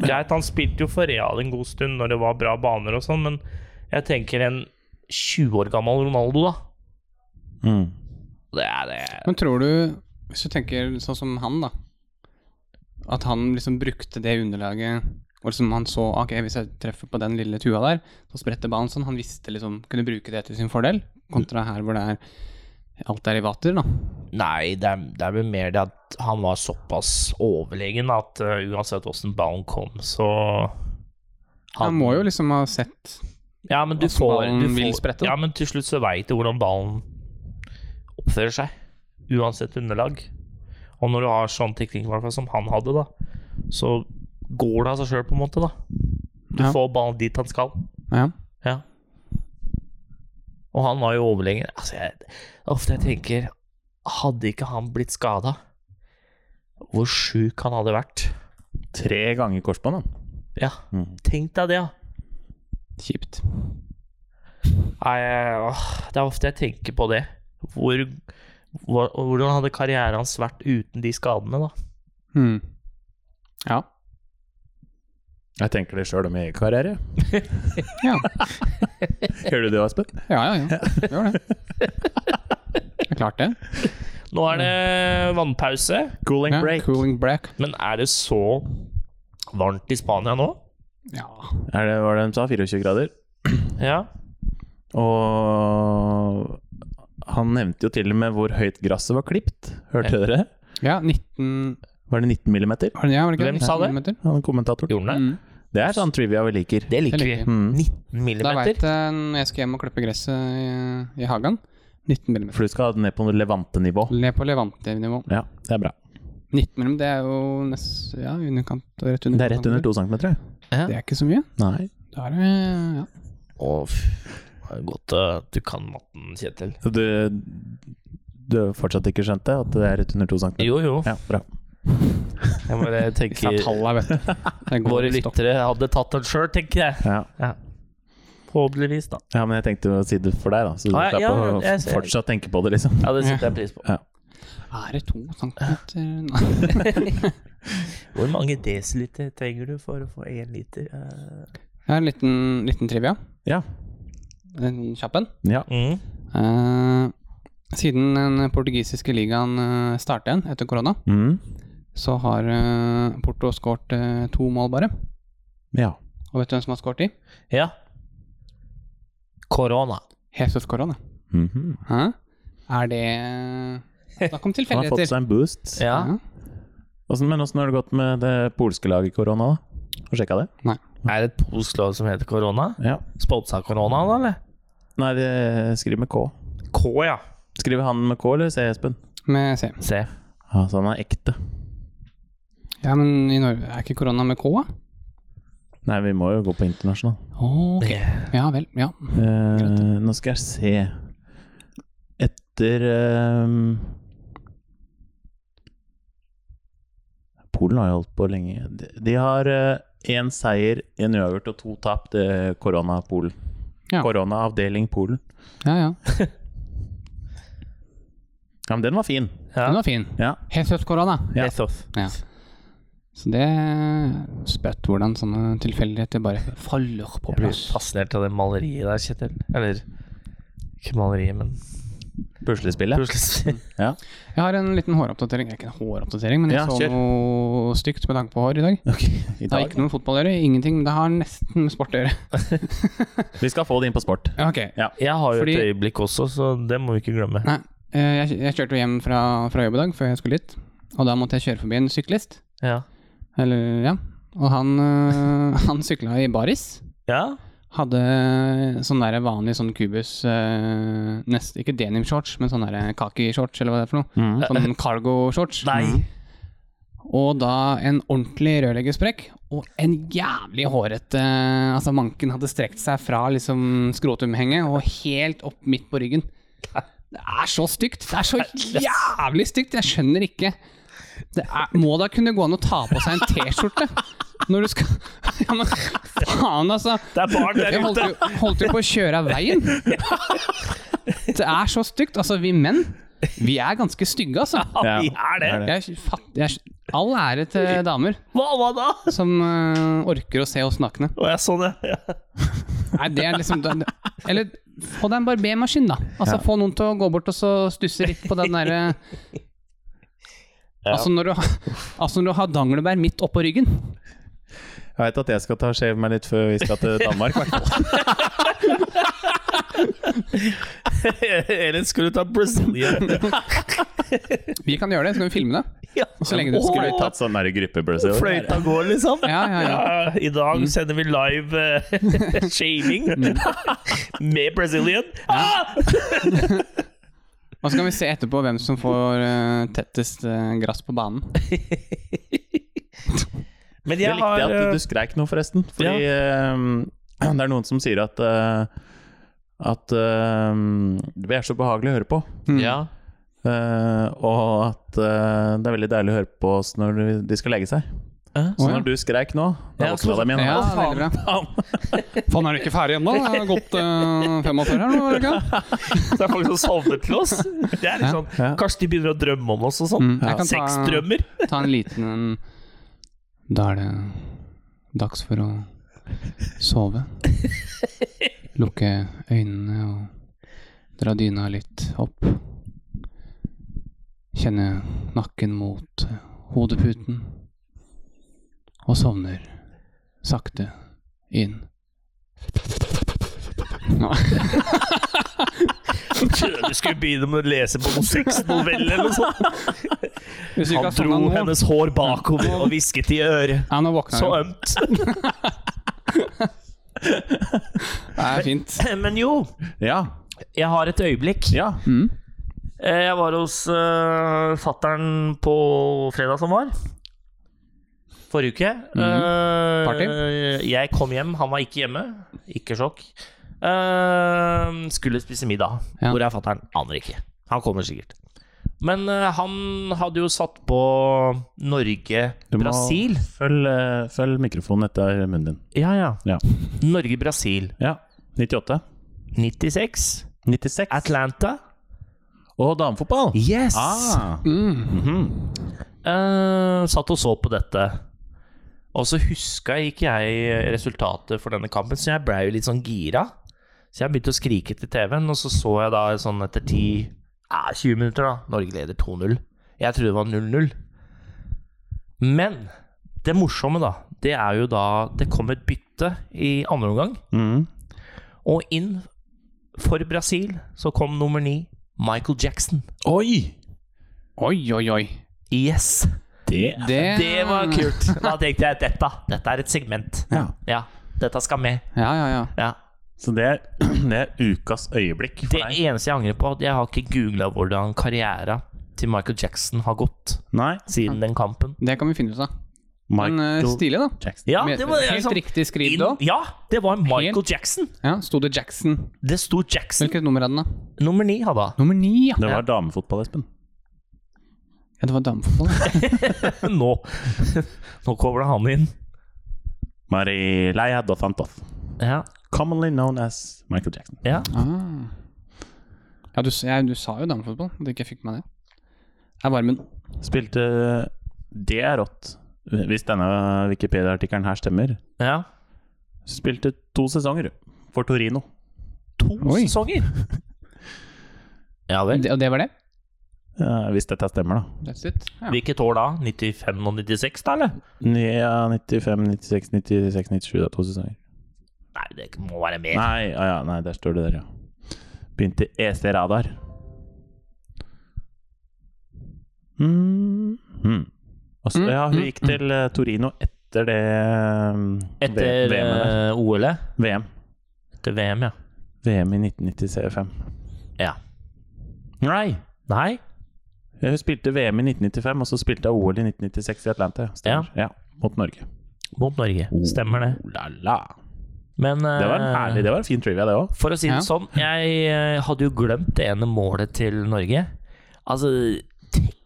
[SPEAKER 3] Greit, han spilte jo for Real en god stund når det var bra baner og sånn, men jeg tenker en 20 år gammel Ronaldo, da.
[SPEAKER 1] Mm.
[SPEAKER 3] Det er det
[SPEAKER 2] Men tror du, hvis du tenker sånn som han, da At han liksom brukte det underlaget og liksom han så ok, hvis jeg treffer på den lille tua der, så spretter ballen sånn. Han visste liksom kunne bruke det til sin fordel, kontra her hvor det er alt derivater, da.
[SPEAKER 3] Nei, det er, det er vel mer det at han var såpass overlegen at eh, uansett åssen ballen kom, så
[SPEAKER 2] Han må jo liksom ha sett
[SPEAKER 3] Ja, men du
[SPEAKER 2] Hvordan
[SPEAKER 3] får,
[SPEAKER 2] ballen
[SPEAKER 3] du
[SPEAKER 2] vil
[SPEAKER 3] får
[SPEAKER 2] sprette, da.
[SPEAKER 3] Ja, men til slutt så veit du hvordan ballen oppfører seg. Uansett underlag. Og når du har sånn teknikk i hvert fall som han hadde, da, så går det av seg sjøl, på en måte, da. Du
[SPEAKER 2] Ja.
[SPEAKER 3] får ballen dit han skal.
[SPEAKER 2] Ja.
[SPEAKER 3] Ja. Og han var jo overlegen. Altså, jeg, ofte jeg tenker Hadde ikke han blitt skada, hvor sjuk han hadde vært.
[SPEAKER 1] Tre ganger korsbånd, da.
[SPEAKER 3] Ja,
[SPEAKER 1] Mm.
[SPEAKER 3] tenk deg det, da.
[SPEAKER 2] Kjipt.
[SPEAKER 3] Nei, jeg- åh, det er ofte jeg tenker på det. Hvor, hvor, hvordan hadde karrieren hans vært uten de skadene, da?
[SPEAKER 2] Hmm. Ja.
[SPEAKER 1] Jeg tenker det sjøl om egen karriere.
[SPEAKER 2] Ja,
[SPEAKER 1] Gjør du det, Aspen?
[SPEAKER 2] ja, ja. ja. Gjør det. Det er klart, det.
[SPEAKER 3] Nå er det vannpause.
[SPEAKER 1] Cooling
[SPEAKER 2] Ja,
[SPEAKER 1] break.
[SPEAKER 2] Cooling break.
[SPEAKER 3] Men er det så varmt i Spania nå?
[SPEAKER 2] Ja.
[SPEAKER 1] Er det hva var det de sa? 24 grader?
[SPEAKER 3] Ja.
[SPEAKER 1] Og han nevnte jo til og med hvor høyt gresset var klipt. Hørte dere?
[SPEAKER 2] ja, 19
[SPEAKER 1] Var det 19 millimeter?
[SPEAKER 2] var det, ja, var det ikke
[SPEAKER 3] Hvem sa det?
[SPEAKER 2] 19 millimeter?
[SPEAKER 1] Han kommentatoren.
[SPEAKER 3] Gjorde den det?
[SPEAKER 2] Mm.
[SPEAKER 1] Det er sånn trivia vi liker.
[SPEAKER 3] Det
[SPEAKER 2] Det
[SPEAKER 3] liker vi.
[SPEAKER 2] liker vi.
[SPEAKER 3] 19
[SPEAKER 1] Mm.
[SPEAKER 2] Da veit
[SPEAKER 3] millimeter.
[SPEAKER 2] jeg når jeg skal hjem og klippe gresset i, i hagen. 19 mm.
[SPEAKER 1] For du skal ned på Levante-nivå.
[SPEAKER 2] Ned på levante-nivå.
[SPEAKER 1] Ja, det er bra.
[SPEAKER 2] 19 mm, det er jo nest, ja, underkant og rett under.
[SPEAKER 1] Det er rett under to centimeter. ja.
[SPEAKER 2] Det er ikke så mye.
[SPEAKER 1] Nei.
[SPEAKER 2] Da er det ja.
[SPEAKER 3] Å, fy. Det er Godt eh, du kan matten, Kjetil.
[SPEAKER 1] Så du, du har fortsatt ikke skjønt det? At det er rett under to centimeter?
[SPEAKER 3] Jo, jo.
[SPEAKER 1] Ja, bra.
[SPEAKER 3] Jeg bare
[SPEAKER 2] Disse
[SPEAKER 3] tenker
[SPEAKER 2] tallene, vet du. Det er god
[SPEAKER 3] Våre
[SPEAKER 2] stokk.
[SPEAKER 3] lyttere hadde tatt den sjøl, tenker jeg.
[SPEAKER 1] Ja.
[SPEAKER 3] Forhåpentligvis, da.
[SPEAKER 1] ja, men jeg tenkte å si det for deg, da. Så du
[SPEAKER 3] Ah, ja,
[SPEAKER 1] slapp
[SPEAKER 3] ja,
[SPEAKER 1] å
[SPEAKER 3] jeg ser-
[SPEAKER 1] fortsatt tenke på det, liksom.
[SPEAKER 3] Ja, det setter jeg pris på.
[SPEAKER 2] Er det to centimeter Nei.
[SPEAKER 3] Hvor mange desiliter trenger du for å få én liter? eh?
[SPEAKER 2] Jeg har en liten, liten trivia.
[SPEAKER 1] Ja.
[SPEAKER 2] En kjapp en.
[SPEAKER 1] Ja.
[SPEAKER 3] Mm.
[SPEAKER 2] Eh, siden den portugisiske ligaen uh, startet igjen etter korona,
[SPEAKER 1] Mm.
[SPEAKER 2] så har eh, Porto skåret eh, to mål bare.
[SPEAKER 1] ja.
[SPEAKER 2] Og vet du hvem som har skåret de?
[SPEAKER 3] Ja. Korona.
[SPEAKER 2] Jesus Corona.
[SPEAKER 1] Mhm.
[SPEAKER 2] Hæ? Er det eh, Snakk om
[SPEAKER 1] Han har fått
[SPEAKER 2] tilfeldigheter.
[SPEAKER 1] seg en boost.
[SPEAKER 3] Ja.
[SPEAKER 2] Ja.
[SPEAKER 1] Åssen- men åssen har det gått med det polske laget i korona, da? Har du sjekka det?
[SPEAKER 3] Er det et polsk lag som heter korona?
[SPEAKER 1] Ja.
[SPEAKER 3] Sponsa korona, da, eller?
[SPEAKER 1] Nei, det skriver med K.
[SPEAKER 3] K, ja.
[SPEAKER 1] Skriver han med K, eller sier Espen?
[SPEAKER 2] Med C.
[SPEAKER 3] Se.
[SPEAKER 1] Ja, så han er ekte.
[SPEAKER 2] Ja, men i Norge er ikke korona med K, da?
[SPEAKER 1] Nei, vi må jo gå på internasjonal.
[SPEAKER 2] Ok. Ja vel. Ja.
[SPEAKER 1] Eh, nå skal jeg se Etter eh, Polen har jo holdt på lenge. De, de har én seier, én uavgjort og to tap. Det er korona-Polen.
[SPEAKER 2] Ja.
[SPEAKER 1] Koronaavdeling Polen.
[SPEAKER 2] ja, ja.
[SPEAKER 1] Ja, men den var fin.
[SPEAKER 2] Den
[SPEAKER 3] Ja.
[SPEAKER 2] var fin.
[SPEAKER 1] Ja.
[SPEAKER 2] Jesus Corona.
[SPEAKER 1] Ja.
[SPEAKER 3] Ethos.
[SPEAKER 2] Ja. Så det er spøtt hvordan sånne tilfeldigheter bare faller på
[SPEAKER 3] Jeg blir
[SPEAKER 2] plass.
[SPEAKER 3] fascinert av det maleriet der, Kjetil. Eller ikke maleriet, men
[SPEAKER 1] Puslespillet.
[SPEAKER 3] puslespill.
[SPEAKER 2] Jeg har en liten håroppdatering. Ikke en håroppdatering, men jeg
[SPEAKER 1] Ja,
[SPEAKER 2] så
[SPEAKER 1] kjør.
[SPEAKER 2] noe stygt med tanke på hår i dag.
[SPEAKER 1] I
[SPEAKER 2] Det har
[SPEAKER 1] dag.
[SPEAKER 2] ikke noe med fotball å gjøre, ingenting, men det har nesten med sport å gjøre.
[SPEAKER 1] Vi skal få det inn på sport.
[SPEAKER 2] Ja, ok.
[SPEAKER 3] Jeg har jo et
[SPEAKER 2] Fordi-
[SPEAKER 3] øyeblikk også, så det må vi ikke glemme.
[SPEAKER 2] Nei, eh, jeg, jeg kjørte jo hjem fra, fra jobb i dag før jeg skulle dit, og da måtte jeg kjøre forbi en syklist.
[SPEAKER 3] Ja.
[SPEAKER 2] Eller, ja. Og han, øh, han sykla i baris.
[SPEAKER 3] ja?
[SPEAKER 2] Hadde sånn der vanlig sånn kubus øh, nest, Ikke denim-shorts, men sånn der kaki-shorts, eller hva det er for noe.
[SPEAKER 1] Mm.
[SPEAKER 2] Sånn cargo-shorts.
[SPEAKER 3] Eh, Nei.
[SPEAKER 2] Og da en ordentlig rørleggersprekk og en jævlig hårete Altså, manken hadde strekt seg fra liksom skrotumhenget og helt opp midt på ryggen. Det er så stygt! Det er så jævlig stygt! Jeg skjønner ikke. Det er, må da kunne gå an å ta på seg en T-skjorte når du skal Ja, men faen, altså!
[SPEAKER 3] Det er barn der
[SPEAKER 2] Jeg holdt
[SPEAKER 3] ute!
[SPEAKER 2] jo, holdt jo på å kjøre av veien. Det er så stygt. Altså, vi menn, vi er ganske stygge, altså.
[SPEAKER 3] Ja, vi er det.
[SPEAKER 2] Jeg fatt, jeg, all ære til damer
[SPEAKER 3] Hva, hva da?
[SPEAKER 2] som øh, orker å se oss nakne.
[SPEAKER 3] Å, jeg så det. Ja.
[SPEAKER 2] Nei, det er liksom det- det- Eller få deg en barbermaskin, da. Altså Få noen til å gå bort og så stusse litt på den derre
[SPEAKER 3] Ja.
[SPEAKER 2] altså, når du har- altså når du har danglebær midt oppå ryggen.
[SPEAKER 1] Jeg veit at jeg skal ta og shave meg litt før vi skal til Danmark. hvertfall.
[SPEAKER 3] Eller skulle du ta Brazilian?
[SPEAKER 2] Vi kan gjøre det, så kan vi filme det.
[SPEAKER 3] Ja.
[SPEAKER 2] Og så lenge du
[SPEAKER 3] Åh,
[SPEAKER 1] Skulle vi tatt sånn der gruppebløse?
[SPEAKER 3] Fløyta går, liksom.
[SPEAKER 2] Ja, ja, ja. Mm.
[SPEAKER 3] Ja, I dag sender vi live eh, shaving med Brazilian. Ah!
[SPEAKER 2] Og så kan vi se etterpå hvem som får øh, tettest øh, gress på banen.
[SPEAKER 3] Men
[SPEAKER 1] Det
[SPEAKER 3] jeg
[SPEAKER 1] likte
[SPEAKER 3] har
[SPEAKER 1] jeg at
[SPEAKER 3] eh,
[SPEAKER 1] du skreik noe, forresten. Fordi eh, det er noen som sier at eh, At eh, vi er så behagelig å høre på.
[SPEAKER 3] Mm. Ja.
[SPEAKER 1] eh, og at eh, det er veldig deilig å høre på oss når de skal legge seg.
[SPEAKER 3] Eh?
[SPEAKER 1] Så
[SPEAKER 2] Å, ja.
[SPEAKER 1] når du skreik nå, da
[SPEAKER 3] Ja,
[SPEAKER 1] våkna de igjen.
[SPEAKER 2] Ja,
[SPEAKER 1] Ja.
[SPEAKER 2] veldig bra.
[SPEAKER 3] Faen.
[SPEAKER 2] Faen, er du ikke ferdig ennå? Det har gått øh, 45 her nå, er det ikke?
[SPEAKER 3] Så det er folk som sovner til oss. Det er litt sånn
[SPEAKER 1] Ja.
[SPEAKER 3] Kanskje de begynner å drømme om oss og sånn.
[SPEAKER 2] Mm, jeg kan ta-
[SPEAKER 3] Sexdrømmer.
[SPEAKER 2] Ta en liten en. Da er det dags for å sove. Lukke øynene og dra dyna litt opp. Kjenner nakken mot hodeputen. Og sovner sakte inn. Nå.
[SPEAKER 3] Du skulle begynne med å lese på noen sexnoveller eller noe sånt.
[SPEAKER 2] Hvis du ikke
[SPEAKER 3] Han
[SPEAKER 2] har
[SPEAKER 3] dro
[SPEAKER 2] sovna nå
[SPEAKER 3] hennes hår bakover og hvisket i øret.
[SPEAKER 2] Ja, nå våkna
[SPEAKER 3] Så
[SPEAKER 2] jeg.
[SPEAKER 3] ømt.
[SPEAKER 2] Det er fint.
[SPEAKER 3] Men jo,
[SPEAKER 1] Ja.
[SPEAKER 3] jeg har et øyeblikk.
[SPEAKER 1] ja.
[SPEAKER 2] Mm.
[SPEAKER 3] Eh, Jeg var hos uh, fattern på fredag som var. Forrige uke.
[SPEAKER 1] Mhm.
[SPEAKER 3] Eh,
[SPEAKER 2] Party?
[SPEAKER 3] jeg kom hjem, han var ikke hjemme. Ikke sjokk. Eh, skulle spise middag.
[SPEAKER 2] Ja.
[SPEAKER 3] Hvor er fattern? Aner ikke. Han kommer sikkert. Men eh, han hadde jo satt på
[SPEAKER 1] Du må-
[SPEAKER 3] Norge-Brasil.
[SPEAKER 1] Følg, eh, følg mikrofonen etter munnen din.
[SPEAKER 3] Ja, ja.
[SPEAKER 1] Ja.
[SPEAKER 3] Norge-Brasil.
[SPEAKER 1] ja. 98.
[SPEAKER 3] 96.
[SPEAKER 1] 96.
[SPEAKER 3] Atlanta.
[SPEAKER 1] Og damefotball!
[SPEAKER 3] Yes!
[SPEAKER 1] Ah.
[SPEAKER 2] Mm.
[SPEAKER 3] Eh, satt og så på dette. Og så huska ikke jeg resultatet for denne kampen, så jeg blei jo litt sånn gira. Så jeg begynte å skrike til TV-en, og så så jeg da sånn etter 10 ja, 20 minutter, da. Norge leder 2-0. Jeg trodde det var 0-0. Men det morsomme, da, det er jo da det kom et bytte i andre omgang.
[SPEAKER 1] Mm.
[SPEAKER 3] Og inn for Brasil så kom nummer ni, Michael Jackson.
[SPEAKER 1] Oi!
[SPEAKER 2] Oi, oi, oi.
[SPEAKER 3] Yes!
[SPEAKER 1] Det
[SPEAKER 2] Det,
[SPEAKER 3] Det
[SPEAKER 2] Mm.
[SPEAKER 3] var kult. Da tenkte jeg dette, dette er et segment.
[SPEAKER 1] ja.
[SPEAKER 3] Ja, dette skal med.
[SPEAKER 2] Ja, ja, ja.
[SPEAKER 3] Ja.
[SPEAKER 1] Så det er, det er ukas øyeblikk for
[SPEAKER 3] Det
[SPEAKER 1] deg?
[SPEAKER 3] eneste jeg angrer på, er at jeg har ikke googla hvordan karriera til Michael Jackson har gått
[SPEAKER 1] Nei.
[SPEAKER 2] Mm.
[SPEAKER 3] siden den kampen.
[SPEAKER 2] Det kan vi finne ut av. Men eh,
[SPEAKER 1] Michael
[SPEAKER 2] stilig, da.
[SPEAKER 1] Jackson.
[SPEAKER 3] Ja,
[SPEAKER 2] Med-
[SPEAKER 3] det var
[SPEAKER 2] Helt
[SPEAKER 3] liksom
[SPEAKER 2] riktig skriv,
[SPEAKER 3] inn,
[SPEAKER 2] da.
[SPEAKER 3] Ja, det var Michael Jackson.
[SPEAKER 2] Ja, Sto det Jackson?
[SPEAKER 3] Det sto Jackson.
[SPEAKER 2] Hvilket nummer er den, da?
[SPEAKER 3] Nummer ni hadde han.
[SPEAKER 2] Nummer ni, ja.
[SPEAKER 1] Det var damefotball, Espen.
[SPEAKER 2] ja det var damefotball. ja.
[SPEAKER 3] Nå Nå kobla han inn.
[SPEAKER 1] Marileia dos Santos.
[SPEAKER 3] Ja,
[SPEAKER 1] Commonly known as Michael Jackson.
[SPEAKER 3] ja.
[SPEAKER 2] Ah. Ja, du, s- jeg, du sa jo damefotball, at jeg ikke fikk med meg det. Det er varmen.
[SPEAKER 1] Spilte Det er rått. Hvis denne Wikipedia-artikkelen her stemmer.
[SPEAKER 3] ja.
[SPEAKER 1] Spilte to sesonger for Torino.
[SPEAKER 3] To
[SPEAKER 2] Oi.
[SPEAKER 3] sesonger! Ja vel.
[SPEAKER 2] Det, og det var det?
[SPEAKER 1] Ja, hvis dette stemmer, da.
[SPEAKER 2] That's it. Ja.
[SPEAKER 3] Hvilket år da? 95 og 96, da, eller?
[SPEAKER 1] Ja, 95, 96, 96, 97. Det er to sesonger.
[SPEAKER 3] Nei, det må være mer.
[SPEAKER 1] Nei, ah, ja, nei, der står det der, ja. Begynte E EC Radar. Mm. Mm. Altså,
[SPEAKER 2] Mm,
[SPEAKER 1] ja, hun
[SPEAKER 2] mm,
[SPEAKER 1] gikk til eh, Torino etter det um,
[SPEAKER 3] Etter
[SPEAKER 1] VM, -et der.
[SPEAKER 3] eh, OL-et.
[SPEAKER 1] VM.
[SPEAKER 3] Etter VM, ja.
[SPEAKER 1] VM i 1995.
[SPEAKER 3] Ja.
[SPEAKER 1] Nei!
[SPEAKER 3] Nei?
[SPEAKER 1] Hun spilte VM i 1995, og så spilte hun OL i 1996 i Atlanta. Stemmer. Ja. Mot Norge.
[SPEAKER 3] Mot Norge. Stemmer det.
[SPEAKER 1] Oh, la, la.
[SPEAKER 3] Men eh,
[SPEAKER 1] Det var en herlig, det var en fin trivia, det òg.
[SPEAKER 3] For å si det
[SPEAKER 2] Ja.
[SPEAKER 3] sånn, jeg eh, hadde jo glemt det ene målet til Norge. Altså,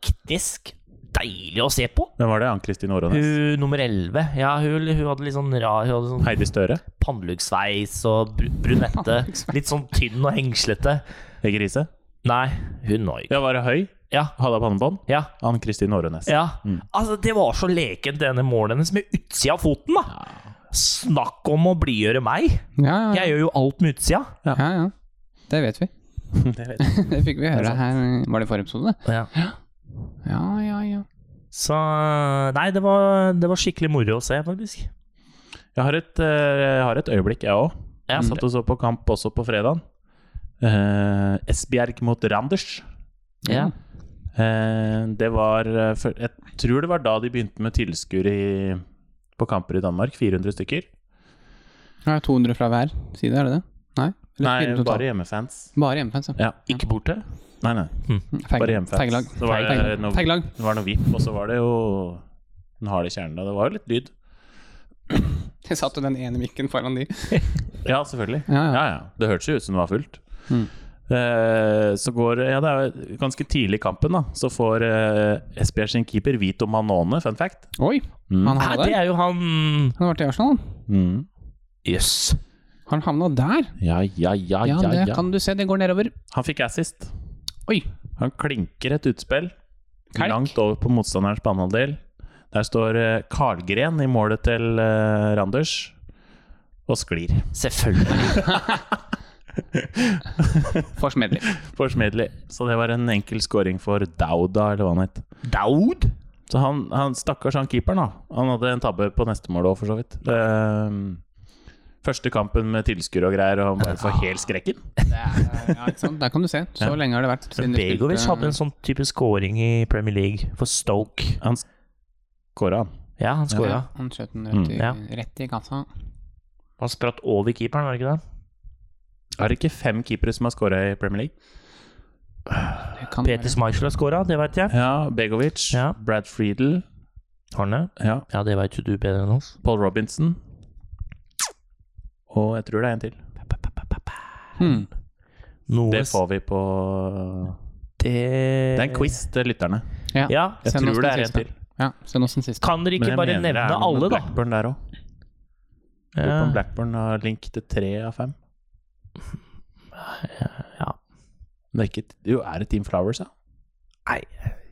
[SPEAKER 3] teknisk deilig å se på.
[SPEAKER 1] Hvem var det? Ann-Kristin Årånes?
[SPEAKER 3] Hun nummer 11, ja, hun, hun hadde litt sånn rar Hun hadde sånn
[SPEAKER 1] Heidi Støre?
[SPEAKER 3] panneluggsveis og br brunette. Litt sånn tynn og hengslete.
[SPEAKER 1] Hege Riise?
[SPEAKER 3] Nei, hun var ikke
[SPEAKER 1] Ja, var det høy?
[SPEAKER 3] Ja.
[SPEAKER 1] Hadde pannebånd?
[SPEAKER 3] Ja.
[SPEAKER 1] Ann-Kristin Årånes.
[SPEAKER 3] ja. Altså, det var så lekent, det ene målet hennes, med utsida av foten, da. Snakk om å blidgjøre meg!
[SPEAKER 2] Ja, ja,
[SPEAKER 3] Jeg gjør jo alt med utsida.
[SPEAKER 2] ja. ja, ja. Det vet vi.
[SPEAKER 1] Det vet jeg.
[SPEAKER 2] Det fikk vi høre her Var det forrige episode? det?
[SPEAKER 3] Ja.
[SPEAKER 2] Ja, ja, ja.
[SPEAKER 3] Så Nei, det var, det var skikkelig moro å se, faktisk.
[SPEAKER 1] Jeg har et, eh, jeg har et øyeblikk, jeg òg.
[SPEAKER 3] Ja,
[SPEAKER 1] Jeg satt og så på kamp også på fredagen. Eh, Esbjerg mot Randers.
[SPEAKER 3] ja.
[SPEAKER 1] Eh, det var eh, før- Jeg tror det var da de begynte med tilskuere i- på kamper i Danmark. 400 stykker.
[SPEAKER 2] Ja, 200 fra hver side, er det det? Nei?
[SPEAKER 1] Nei,
[SPEAKER 2] fire totalt?
[SPEAKER 1] bare hjemmefans.
[SPEAKER 2] Bare hjemmefans, ja.
[SPEAKER 1] Ja,
[SPEAKER 3] Ikke borte?
[SPEAKER 1] nei, nei.
[SPEAKER 2] Feig-
[SPEAKER 1] Bare hjemmefans.
[SPEAKER 2] Feiglag.
[SPEAKER 1] Så var det
[SPEAKER 2] Feiglag.
[SPEAKER 1] noe-
[SPEAKER 2] Feiglag.
[SPEAKER 1] Det var noe VIP, og så var det jo den harde kjernen. da. Det var jo litt lyd.
[SPEAKER 2] Jeg satt jo den ene mikken foran de.
[SPEAKER 1] Ja, selvfølgelig.
[SPEAKER 2] Ja, ja.
[SPEAKER 1] Ja, ja. Det hørtes jo ut som det var fullt.
[SPEAKER 2] Mm.
[SPEAKER 1] Eh, så går Ja, det er jo ganske tidlig i kampen, da. Så får uh, Esbjerg sin keeper Vito Manone, fun fact.
[SPEAKER 2] Oi!
[SPEAKER 1] Mm.
[SPEAKER 2] Han
[SPEAKER 3] Nei,
[SPEAKER 2] havna
[SPEAKER 3] det
[SPEAKER 2] der.
[SPEAKER 3] er jo han
[SPEAKER 2] Han har vært i Arsenal. han.
[SPEAKER 1] Mm.
[SPEAKER 3] Jøss. Yes.
[SPEAKER 2] Han havna der!
[SPEAKER 1] Ja, ja, ja,
[SPEAKER 2] Ja,
[SPEAKER 1] ja.
[SPEAKER 2] det
[SPEAKER 1] ja.
[SPEAKER 2] kan du se. Det går nedover.
[SPEAKER 1] Han fikk assist.
[SPEAKER 2] Oi!
[SPEAKER 1] Han klinker et utspill
[SPEAKER 2] Kalk.
[SPEAKER 1] langt over på motstanderens banehalvdel. Der står eh, Karlgren i målet til eh, Randers, og sklir.
[SPEAKER 3] Selvfølgelig.
[SPEAKER 2] For smedley.
[SPEAKER 1] for Smedley. Så det var en enkel scoring for Dauda, eller hva han het.
[SPEAKER 3] Daud?
[SPEAKER 1] Så han, han stakkars han keeperen, da. Han hadde en tabbe på neste mål òg, for så vidt. Ehm, første kampen med tilskuere og greier, og han bare får helt skrekken.
[SPEAKER 2] Det er, ja, ikke sant? Der kan du se. Så
[SPEAKER 1] Ja.
[SPEAKER 2] lenge har det vært siden de
[SPEAKER 3] Begovic
[SPEAKER 2] spilte-
[SPEAKER 3] hadde en sånn type scoring i Premier League for Stoke.
[SPEAKER 1] Han skåra, han.
[SPEAKER 3] Ja, han
[SPEAKER 2] Ja,
[SPEAKER 3] skåra.
[SPEAKER 2] han skjøt den rett i,
[SPEAKER 1] Mm,
[SPEAKER 3] ja.
[SPEAKER 2] rett i kassa.
[SPEAKER 3] Han spratt over keeperen, var det ikke det?
[SPEAKER 1] Er det ikke fem keepere som har skåra i Premier League?
[SPEAKER 2] Det kan
[SPEAKER 3] Peter
[SPEAKER 2] være.
[SPEAKER 3] Schmeichel har skåra, det veit jeg.
[SPEAKER 1] Ja, Begovic,
[SPEAKER 3] Ja.
[SPEAKER 1] Brad Friedel,
[SPEAKER 3] Har han det?
[SPEAKER 1] ja,
[SPEAKER 3] Ja, det veit jo du bedre enn oss.
[SPEAKER 1] Paul Robinson Og jeg tror det er en til.
[SPEAKER 2] Hmm.
[SPEAKER 3] Noe
[SPEAKER 1] Det får vi på
[SPEAKER 3] det
[SPEAKER 1] Det er en quiz til lytterne.
[SPEAKER 2] Ja.
[SPEAKER 3] Ja.
[SPEAKER 1] Jeg
[SPEAKER 2] Send oss
[SPEAKER 1] tror det
[SPEAKER 2] den
[SPEAKER 1] er en
[SPEAKER 2] siste.
[SPEAKER 1] til.
[SPEAKER 2] ja. Send oss den siste.
[SPEAKER 3] Kan dere
[SPEAKER 1] Men
[SPEAKER 3] ikke
[SPEAKER 1] jeg
[SPEAKER 3] bare
[SPEAKER 1] mener det
[SPEAKER 3] nevne
[SPEAKER 1] er noe med
[SPEAKER 3] alle, da?
[SPEAKER 1] Blackburn der òg.
[SPEAKER 3] Ja.
[SPEAKER 1] Blackburn har link til tre av fem.
[SPEAKER 3] ja.
[SPEAKER 1] Men Det er ikke, jo, er det Team Flowers, da?
[SPEAKER 3] Nei.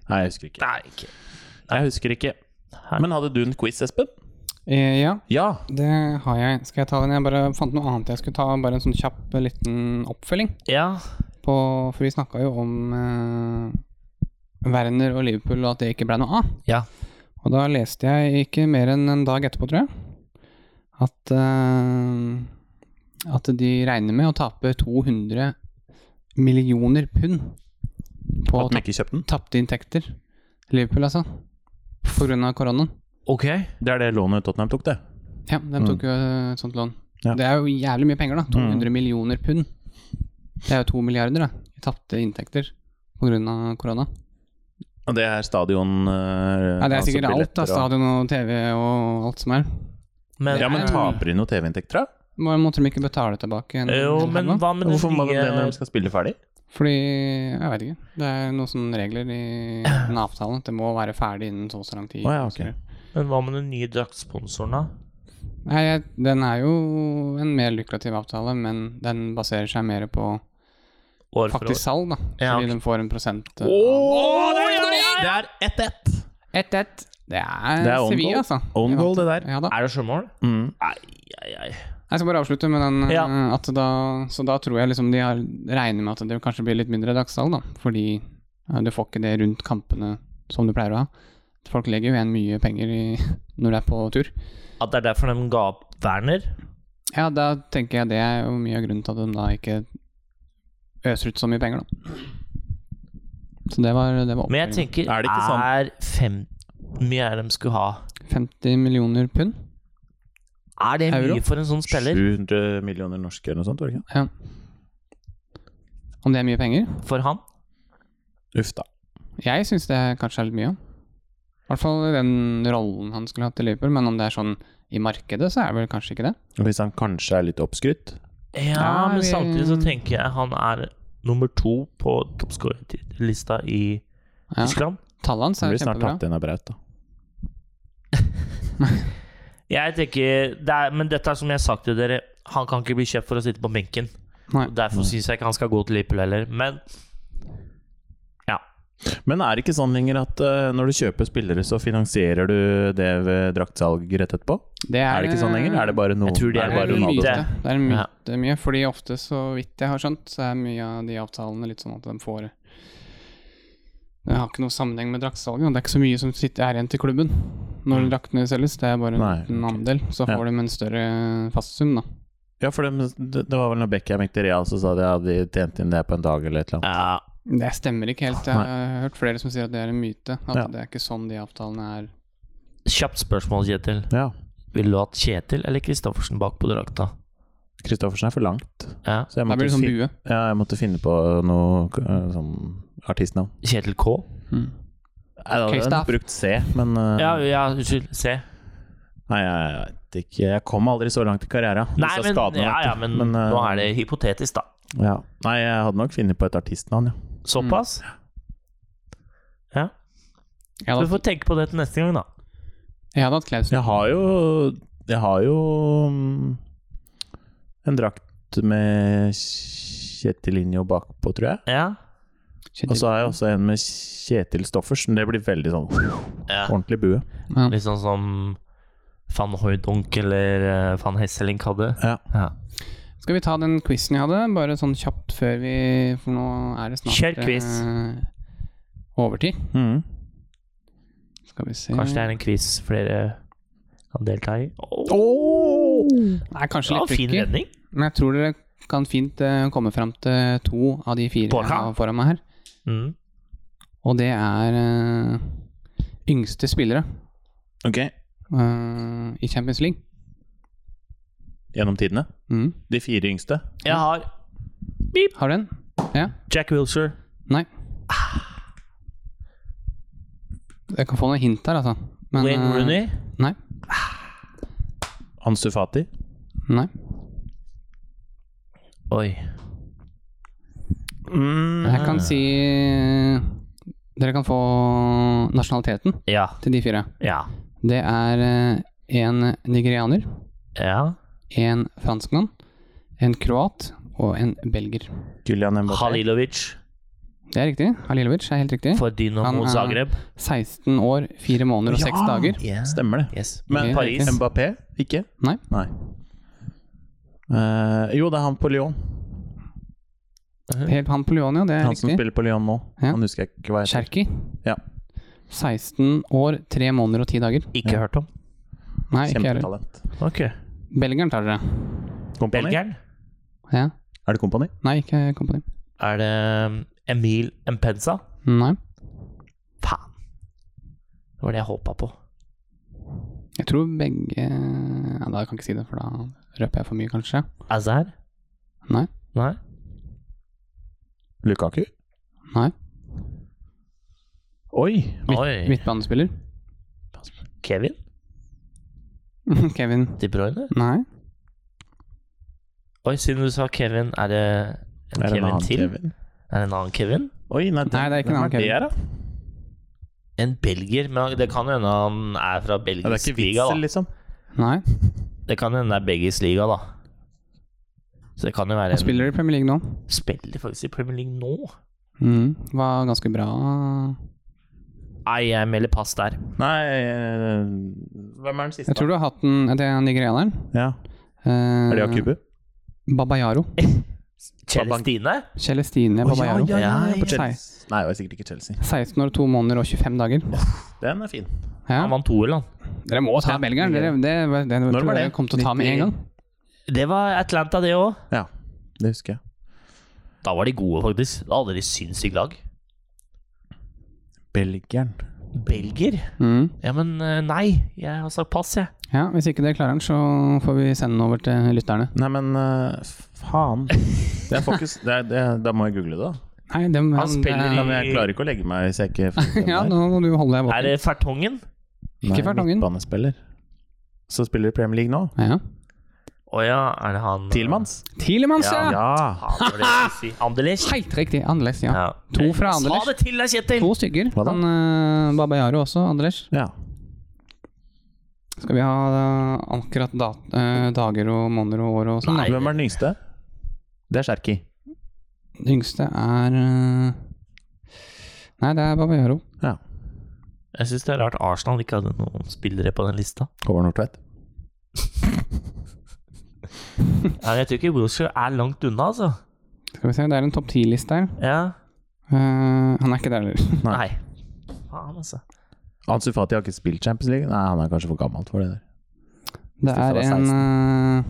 [SPEAKER 1] Nei, jeg husker ikke.
[SPEAKER 3] Nei, ikke
[SPEAKER 1] Jeg husker ikke.
[SPEAKER 3] Nei.
[SPEAKER 1] Men hadde du en quiz, Espen?
[SPEAKER 2] Eh, ja,
[SPEAKER 1] Ja.
[SPEAKER 2] det har jeg. Skal jeg ta den? Jeg bare fant noe annet jeg skulle ta. Bare en sånn kjapp eh, liten oppfølging.
[SPEAKER 3] Ja.
[SPEAKER 2] På, for vi snakka jo om eh, Werner og Liverpool og at det ikke ble noe av.
[SPEAKER 3] Ja.
[SPEAKER 2] Og da leste jeg ikke mer enn en dag etterpå, tror jeg, at eh, At de regner med å tape 200 millioner pund på
[SPEAKER 1] At de ikke kjøpte den?
[SPEAKER 2] tapte inntekter. Liverpool, altså. På grunn av koronaen.
[SPEAKER 3] Ok.
[SPEAKER 1] Det er det lånet Tottenham tok, det.
[SPEAKER 2] Ja, de tok jo eh, et sånt lån.
[SPEAKER 1] Ja.
[SPEAKER 2] Det er jo jævlig mye penger, da. 200 millioner pund. Det er jo to milliarder, da. I tapte inntekter på grunn av korona.
[SPEAKER 1] Og det er stadion eh, altså
[SPEAKER 2] Ja, det er sikkert alt, da. Stadion Eh, og TV og alt som er.
[SPEAKER 3] Men,
[SPEAKER 1] Ja, men
[SPEAKER 2] Ja.
[SPEAKER 1] taper de noen TV-inntekter, da?
[SPEAKER 2] Hva Måtte de ikke betale tilbake? en-
[SPEAKER 3] jo,
[SPEAKER 2] en
[SPEAKER 3] men
[SPEAKER 2] gang?
[SPEAKER 3] hva med
[SPEAKER 1] Hvorfor
[SPEAKER 3] den
[SPEAKER 1] må de det når
[SPEAKER 3] nye
[SPEAKER 1] de skal spille ferdig?
[SPEAKER 2] Fordi Jeg vet ikke. Det er noen sånne regler i den avtalen. at Det må være ferdig innen så og så lang tid.
[SPEAKER 1] Å ja, ok.
[SPEAKER 3] Men hva med den nye draktsponsoren, da?
[SPEAKER 2] Nei, jeg, den er jo en mer lukrativ avtale, men den baserer seg mer på
[SPEAKER 3] År for
[SPEAKER 2] faktisk
[SPEAKER 3] år.
[SPEAKER 2] salg, da.
[SPEAKER 3] Ja,
[SPEAKER 2] Fordi
[SPEAKER 3] ok.
[SPEAKER 2] de får en prosent. eh,
[SPEAKER 1] Det er 1-1!
[SPEAKER 2] 1-1. Det er,
[SPEAKER 1] Det er own
[SPEAKER 2] Sevilla,
[SPEAKER 1] goal.
[SPEAKER 2] altså.
[SPEAKER 1] Own
[SPEAKER 2] De
[SPEAKER 1] goal, det
[SPEAKER 2] vant.
[SPEAKER 1] der.
[SPEAKER 2] Ja da.
[SPEAKER 3] Er det sjømål?
[SPEAKER 1] Mm.
[SPEAKER 3] Nei, ei, ei.
[SPEAKER 2] Jeg skal bare avslutte med den eh,
[SPEAKER 3] Ja.
[SPEAKER 2] at da, Så da tror jeg liksom de har regner med at det kanskje blir litt mindre dagssalg, da. Fordi eh, du får ikke det rundt kampene som du pleier å ha. Folk legger jo igjen mye penger i, når du er på tur.
[SPEAKER 3] At det er derfor de ga opp Werner?
[SPEAKER 2] Ja, da tenker jeg det er jo mye av grunnen til at de da ikke øser ut så mye penger, da. Så det var, det var
[SPEAKER 3] Men jeg
[SPEAKER 2] oppfølgingen.
[SPEAKER 3] tenker,
[SPEAKER 1] Mm. Er
[SPEAKER 3] er,
[SPEAKER 1] det ikke sånn?
[SPEAKER 3] fem Hvor mye er det de skulle ha?
[SPEAKER 2] 50 millioner pund.
[SPEAKER 3] Er det
[SPEAKER 2] Euro?
[SPEAKER 3] mye for en sånn spiller?
[SPEAKER 1] Mm. 700 millioner norske eller noe sånt, var det ikke?
[SPEAKER 2] Ja. Om det er mye penger?
[SPEAKER 3] For han?
[SPEAKER 1] Uff da.
[SPEAKER 2] Jeg syns det kanskje er litt mye. I hvert fall i den rollen han skulle hatt i Liverpool, men om det er sånn i markedet, så er det vel kanskje ikke det.
[SPEAKER 1] Og Hvis han kanskje er litt oppskrytt
[SPEAKER 3] Ja, men
[SPEAKER 2] vi-
[SPEAKER 3] samtidig så tenker jeg han er nummer to på toppskårerlista i
[SPEAKER 2] Ja.
[SPEAKER 3] Tyskland.
[SPEAKER 2] Tallet hans
[SPEAKER 1] Han
[SPEAKER 2] er
[SPEAKER 1] blir snart
[SPEAKER 2] kjempebra.
[SPEAKER 1] tatt igjen av Braut, da.
[SPEAKER 3] Jeg tenker, det er, Men dette er som jeg har sagt til dere, han kan ikke bli kjøpt for å sitte på benken.
[SPEAKER 2] Nei.
[SPEAKER 3] Og Derfor syns jeg ikke han skal gå til Liverpool heller. Men
[SPEAKER 1] Men er det ikke sånn lenger at eh, når du kjøper spillere, så finansierer du det ved draktsalg rett etterpå? Er det ikke sånn lenger? Er det bare noe
[SPEAKER 3] Jeg tror de
[SPEAKER 2] det
[SPEAKER 1] er
[SPEAKER 2] er
[SPEAKER 1] det bare
[SPEAKER 2] en
[SPEAKER 1] Ronaldo?
[SPEAKER 2] myte.
[SPEAKER 3] det.
[SPEAKER 2] Det er en myte mye, fordi ofte, så vidt jeg har skjønt, så er mye av de avtalene litt sånn at de får Det har ikke noe sammenheng med draktsalget. og Det er ikke så mye som sitter er igjen til klubben når draktene selges. Det er bare en
[SPEAKER 1] Nei,
[SPEAKER 2] liten
[SPEAKER 1] ok.
[SPEAKER 2] andel. Så
[SPEAKER 1] Ja.
[SPEAKER 2] får de en større fastsum, da.
[SPEAKER 1] Ja, for det, det det var vel når Beckham gikk til Real, så sa de at de tjente inn det på en dag eller et eller annet.
[SPEAKER 3] ja,
[SPEAKER 2] Det stemmer ikke helt. Jeg har hørt flere som sier at det er en myte. At
[SPEAKER 1] Ja.
[SPEAKER 2] det er ikke sånn de avtalene er.
[SPEAKER 3] kjapt spørsmål, Kjetil.
[SPEAKER 1] Ja.
[SPEAKER 3] Ville du hatt Kjetil eller Kristoffersen bak på drakta?
[SPEAKER 1] Kristoffersen er for langt,
[SPEAKER 3] Ja.
[SPEAKER 1] så jeg
[SPEAKER 2] Da
[SPEAKER 1] måtte,
[SPEAKER 2] blir det sånn
[SPEAKER 1] fin-
[SPEAKER 2] bue.
[SPEAKER 1] ja, jeg måtte finne på noe eh, sånn artistnavn.
[SPEAKER 3] Kjetil K?
[SPEAKER 1] Nei, da hadde jeg
[SPEAKER 2] Kristoff.
[SPEAKER 1] brukt C, men eh,
[SPEAKER 3] Ja, ja unnskyld. C.
[SPEAKER 1] Nei, jeg vet ikke. Jeg kom aldri så langt i karrieren.
[SPEAKER 3] Nei,
[SPEAKER 1] Disse
[SPEAKER 3] men,
[SPEAKER 1] skadene,
[SPEAKER 3] ja,
[SPEAKER 1] vet
[SPEAKER 3] ja,
[SPEAKER 1] du.
[SPEAKER 3] men,
[SPEAKER 1] Men, eh,
[SPEAKER 3] nå er det hypotetisk, da.
[SPEAKER 1] Ja. Nei, jeg hadde nok funnet på et artistnavn, ja.
[SPEAKER 3] Såpass?
[SPEAKER 2] Jeg
[SPEAKER 3] Du
[SPEAKER 2] hadde,
[SPEAKER 3] får tenke på det til neste gang, da.
[SPEAKER 2] jeg hadde hatt Klausen.
[SPEAKER 1] Jeg har jo Jeg har jo mm, en drakt med Kjetil Injo bakpå, tror jeg.
[SPEAKER 3] Ja.
[SPEAKER 1] Og så har jeg også en med Kjetil Stoffersen. Det blir veldig sånn
[SPEAKER 3] ja.
[SPEAKER 1] ordentlig bue.
[SPEAKER 2] Ja.
[SPEAKER 3] Litt sånn som van Hooydonk eller eh, van Hesselink hadde.
[SPEAKER 1] Ja.
[SPEAKER 2] Skal vi ta den quizen jeg hadde, bare sånn kjapt før vi For nå er det snart
[SPEAKER 3] Kjør quiz.
[SPEAKER 2] eh, overtid.
[SPEAKER 1] Mhm.
[SPEAKER 2] Skal vi se
[SPEAKER 3] Kanskje det er en quiz flere kan delta i. Åh,
[SPEAKER 2] Nei, kanskje
[SPEAKER 3] det var
[SPEAKER 2] litt
[SPEAKER 3] en fin
[SPEAKER 2] tricky.
[SPEAKER 3] redning.
[SPEAKER 2] Men jeg tror dere kan fint eh, komme fram til to av de fire
[SPEAKER 3] Bård,
[SPEAKER 2] jeg har foran meg her.
[SPEAKER 3] Mm.
[SPEAKER 2] Og det er eh, yngste spillere
[SPEAKER 1] Ok,
[SPEAKER 2] eh, i Champions League.
[SPEAKER 1] gjennom tidene.
[SPEAKER 2] Mm.
[SPEAKER 1] De fire yngste.
[SPEAKER 3] Jeg har
[SPEAKER 2] Har du den? Ja?
[SPEAKER 3] Jack Wilshere.
[SPEAKER 2] Nei. Jeg kan få noen hint her, altså. Men,
[SPEAKER 3] Wayne
[SPEAKER 2] eh,
[SPEAKER 3] Rooney.
[SPEAKER 2] Nei.
[SPEAKER 1] Ansu Fati.
[SPEAKER 2] nei.
[SPEAKER 3] Oi. Mm.
[SPEAKER 2] Jeg kan si eh, Dere kan få nasjonaliteten
[SPEAKER 3] Ja.
[SPEAKER 2] til de fire.
[SPEAKER 3] Ja.
[SPEAKER 2] Det er eh, en nigerianer,
[SPEAKER 3] Ja.
[SPEAKER 2] en franskmann, en kroat og en belger.
[SPEAKER 1] Julian Mbappé.
[SPEAKER 3] Halilovic
[SPEAKER 2] Det er riktig. Halilovic er helt riktig.
[SPEAKER 3] for
[SPEAKER 2] Mm. Han
[SPEAKER 3] Dynamo
[SPEAKER 2] er-
[SPEAKER 3] Zagreb.
[SPEAKER 2] 16 år, 4 måneder og 6
[SPEAKER 1] Ja!
[SPEAKER 2] dager.
[SPEAKER 3] Yeah.
[SPEAKER 1] Stemmer det.
[SPEAKER 3] Yes.
[SPEAKER 1] Men
[SPEAKER 2] Ok,
[SPEAKER 1] Paris
[SPEAKER 2] riktig.
[SPEAKER 1] Mbappé ikke?
[SPEAKER 2] Nei.
[SPEAKER 1] Eh, jo, det er han på Lyon.
[SPEAKER 2] Helt han på Lyon, ja. Det er
[SPEAKER 1] Han som
[SPEAKER 2] riktig.
[SPEAKER 1] spiller på Lyon nå.
[SPEAKER 2] Ja.
[SPEAKER 1] Han husker jeg ikke hva heter.
[SPEAKER 2] Cherky.
[SPEAKER 1] Ja.
[SPEAKER 2] 16 år, 3 måneder og 10 dager.
[SPEAKER 3] Ikke hørt om.
[SPEAKER 2] Nei, ikke jeg heller.
[SPEAKER 1] Kjempetalent.
[SPEAKER 3] Ok.
[SPEAKER 2] Belgeren tar dere.
[SPEAKER 1] Kompani?
[SPEAKER 3] Belgieren.
[SPEAKER 2] Ja.
[SPEAKER 1] Er det Kompani?
[SPEAKER 2] Nei, ikke Company.
[SPEAKER 3] Er det um, Emil Empenza?
[SPEAKER 2] Nei.
[SPEAKER 3] Faen. Det var det jeg håpa på.
[SPEAKER 2] Jeg tror begge ja, Da kan jeg ikke si det, for da røper jeg for mye, kanskje.
[SPEAKER 3] Azar?
[SPEAKER 2] Nei.
[SPEAKER 3] Nei.
[SPEAKER 1] Lukaku?
[SPEAKER 2] Nei.
[SPEAKER 1] Oi!
[SPEAKER 3] Oi.
[SPEAKER 2] Midtbanespiller.
[SPEAKER 3] Kevin?
[SPEAKER 2] Kevin.
[SPEAKER 3] De Bruyne?
[SPEAKER 2] Nei.
[SPEAKER 3] Oi, siden du sa Kevin, er det
[SPEAKER 1] Er
[SPEAKER 3] en
[SPEAKER 1] det en
[SPEAKER 3] Kevin
[SPEAKER 1] annen
[SPEAKER 3] til?
[SPEAKER 1] Kevin?
[SPEAKER 3] Er det en annen Kevin?
[SPEAKER 1] Oi, nei,
[SPEAKER 2] Nei, det er ikke en annen
[SPEAKER 1] hvem
[SPEAKER 2] Kevin.
[SPEAKER 1] er det, da?
[SPEAKER 3] En belgier, men det kan hende han er fra
[SPEAKER 1] Ja, det er
[SPEAKER 3] belgisk
[SPEAKER 1] ikke
[SPEAKER 3] liga,
[SPEAKER 1] Witzel,
[SPEAKER 3] da.
[SPEAKER 1] liksom.
[SPEAKER 2] Nei.
[SPEAKER 3] Det kan hende det er belgisk liga, da. Så det kan jo være
[SPEAKER 2] Han
[SPEAKER 3] en
[SPEAKER 2] spiller i Premier League nå.
[SPEAKER 3] Spiller faktisk i Premier League nå?
[SPEAKER 2] Mm. Var ganske bra.
[SPEAKER 3] Nei, jeg melder pass der.
[SPEAKER 1] Nei eh, Hvem er den siste?
[SPEAKER 2] Jeg tror du har hatt den Det er nigerianeren.
[SPEAKER 1] Ja.
[SPEAKER 2] Eh,
[SPEAKER 1] Er det Jakubu?
[SPEAKER 2] Babayaro.
[SPEAKER 3] Celestine?
[SPEAKER 2] Celestine Babayaro.
[SPEAKER 3] ja, ja, ja,
[SPEAKER 1] på Chelsea. Nei, det var sikkert ikke Chelsea.
[SPEAKER 2] 16 år, 2 måneder og 25 dager.
[SPEAKER 1] Den er fin.
[SPEAKER 2] Ja.
[SPEAKER 3] Han vant to, eller? han?
[SPEAKER 2] Dere må ta belgeren. Dere, det, det, det,
[SPEAKER 1] Når
[SPEAKER 2] tror
[SPEAKER 1] var det?
[SPEAKER 2] jeg dere kom til å ta med en gang.
[SPEAKER 3] Det var Atlanta, det òg.
[SPEAKER 1] Ja, det husker jeg.
[SPEAKER 3] Da var de gode, faktisk. Da hadde de sinnssykt lag.
[SPEAKER 1] Belgieren.
[SPEAKER 3] Belgier?
[SPEAKER 2] Mm.
[SPEAKER 3] Ja, men eh, nei. Jeg har sagt pass, jeg.
[SPEAKER 2] Ja, Hvis ikke dere klarer den, så får vi sende den over til lytterne.
[SPEAKER 1] Nei, men eh, faen. Jeg får ikke s- det, er- det, er- da må jeg google det, da.
[SPEAKER 2] Nei, dem,
[SPEAKER 3] Han spiller i-
[SPEAKER 1] Ja, men jeg klarer ikke å legge meg hvis jeg ikke finner den
[SPEAKER 2] Ja,
[SPEAKER 1] der.
[SPEAKER 2] nå må du holde deg
[SPEAKER 3] Er
[SPEAKER 2] våken.
[SPEAKER 3] det Fertongen?
[SPEAKER 1] Nei,
[SPEAKER 2] Ikke Fertangen.
[SPEAKER 1] Midtbanespiller. Så spiller i Premier League nå.
[SPEAKER 2] Ja.
[SPEAKER 3] Å ja, er det han
[SPEAKER 1] Tilmans.
[SPEAKER 2] Tilemanns, ja!
[SPEAKER 1] Ja.
[SPEAKER 3] Han, var det jeg skulle si. Anderlecht.
[SPEAKER 2] Helt riktig. Annerledes, ja.
[SPEAKER 3] Ja.
[SPEAKER 2] To fra Anderlecht.
[SPEAKER 3] Sa det til deg, Kjetil!
[SPEAKER 2] To stykker.
[SPEAKER 1] Hva da?
[SPEAKER 2] Han uh, Babayaro også, Anders.
[SPEAKER 1] ja.
[SPEAKER 2] Skal vi ha eh, akkurat da, eh, dager og måneder og år og sånn? da?
[SPEAKER 3] Nei.
[SPEAKER 1] Hvem er den yngste? Det er Cherky.
[SPEAKER 2] Den yngste er eh, Nei, det er Babayaro.
[SPEAKER 3] Jeg syns det er rart Arsenal ikke hadde noen spillere på den lista.
[SPEAKER 1] Håvard Nordtvedt.
[SPEAKER 3] Ja, jeg tror ikke Wilshere er langt unna, altså.
[SPEAKER 2] Skal vi se, det er en topp ti-liste her.
[SPEAKER 3] Ja.
[SPEAKER 2] Eh, han er ikke der heller.
[SPEAKER 3] Nei. Faen, altså.
[SPEAKER 1] Ansu Fati har ikke spilt Champions League. Nei, han er kanskje for gammel for det der.
[SPEAKER 2] Det
[SPEAKER 1] Stiftet
[SPEAKER 2] er
[SPEAKER 1] var
[SPEAKER 2] en eh,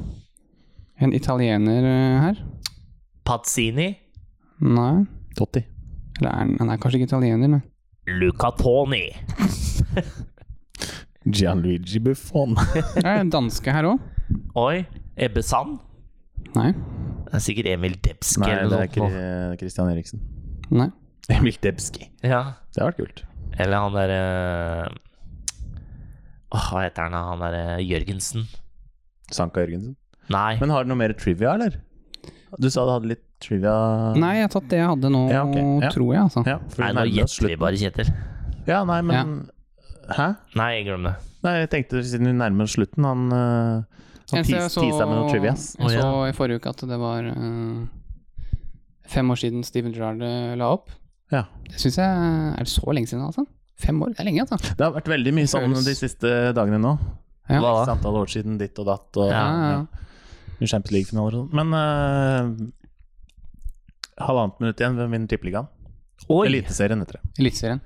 [SPEAKER 2] En italiener eh, her.
[SPEAKER 3] Pazzini.
[SPEAKER 2] Nei.
[SPEAKER 1] Totti.
[SPEAKER 2] Eller er han, han er kanskje ikke italiener, men
[SPEAKER 3] Luca Toni.
[SPEAKER 1] Gianluigi Buffon.
[SPEAKER 2] Det er en danske her òg.
[SPEAKER 3] Oi. Ebbe Sand.
[SPEAKER 2] Nei.
[SPEAKER 3] Det er sikkert Emil Debske
[SPEAKER 1] Nei, det
[SPEAKER 3] eller
[SPEAKER 1] er
[SPEAKER 3] noe sånt.
[SPEAKER 1] Kri- eh, Christian Eriksen.
[SPEAKER 2] Nei.
[SPEAKER 1] Emil Debski.
[SPEAKER 3] Ja.
[SPEAKER 1] Det har vært kult.
[SPEAKER 3] Eller han derre Åh, Hva heter han da? Han derre Jørgensen?
[SPEAKER 1] Sanka Jørgensen.
[SPEAKER 3] Nei.
[SPEAKER 1] Men har du noe mer trivia, eller? Du sa du hadde litt trivia
[SPEAKER 2] Nei, jeg har tatt det jeg hadde nå,
[SPEAKER 1] Ja, ok. Ja.
[SPEAKER 2] tror jeg, altså.
[SPEAKER 1] Ja, for vi
[SPEAKER 3] Nei, nå
[SPEAKER 1] nærmer oss
[SPEAKER 3] gjetter vi
[SPEAKER 1] slutten.
[SPEAKER 3] bare, Kjetil.
[SPEAKER 1] Ja, nei, men Hæ?
[SPEAKER 3] Nei, glem det.
[SPEAKER 1] Nei, jeg tenkte siden vi nærmer oss slutten Han, øh, han
[SPEAKER 2] Eneste jeg
[SPEAKER 1] tis,
[SPEAKER 2] så-
[SPEAKER 1] tisa med noen trivias.
[SPEAKER 2] Jeg
[SPEAKER 3] Å, ja.
[SPEAKER 2] så i forrige uke at det var eh, fem år siden Steven Gerrard eh, la opp.
[SPEAKER 1] Ja.
[SPEAKER 2] Det syns jeg Er det så lenge siden, altså? Fem år? Det er lenge, altså.
[SPEAKER 1] Det har vært veldig mye sånn
[SPEAKER 2] Føles-
[SPEAKER 1] de siste dagene nå.
[SPEAKER 2] Ja.
[SPEAKER 3] Hva da?
[SPEAKER 1] X antall år siden ditt og datt. Og,
[SPEAKER 2] Ja, ja.
[SPEAKER 1] i Champions League-finaler og sånn. Men eh, halvannet minutt igjen, hvem vinner tippeligaen?
[SPEAKER 3] Oi!
[SPEAKER 1] Eliteserien heter det.
[SPEAKER 2] Eliteserien.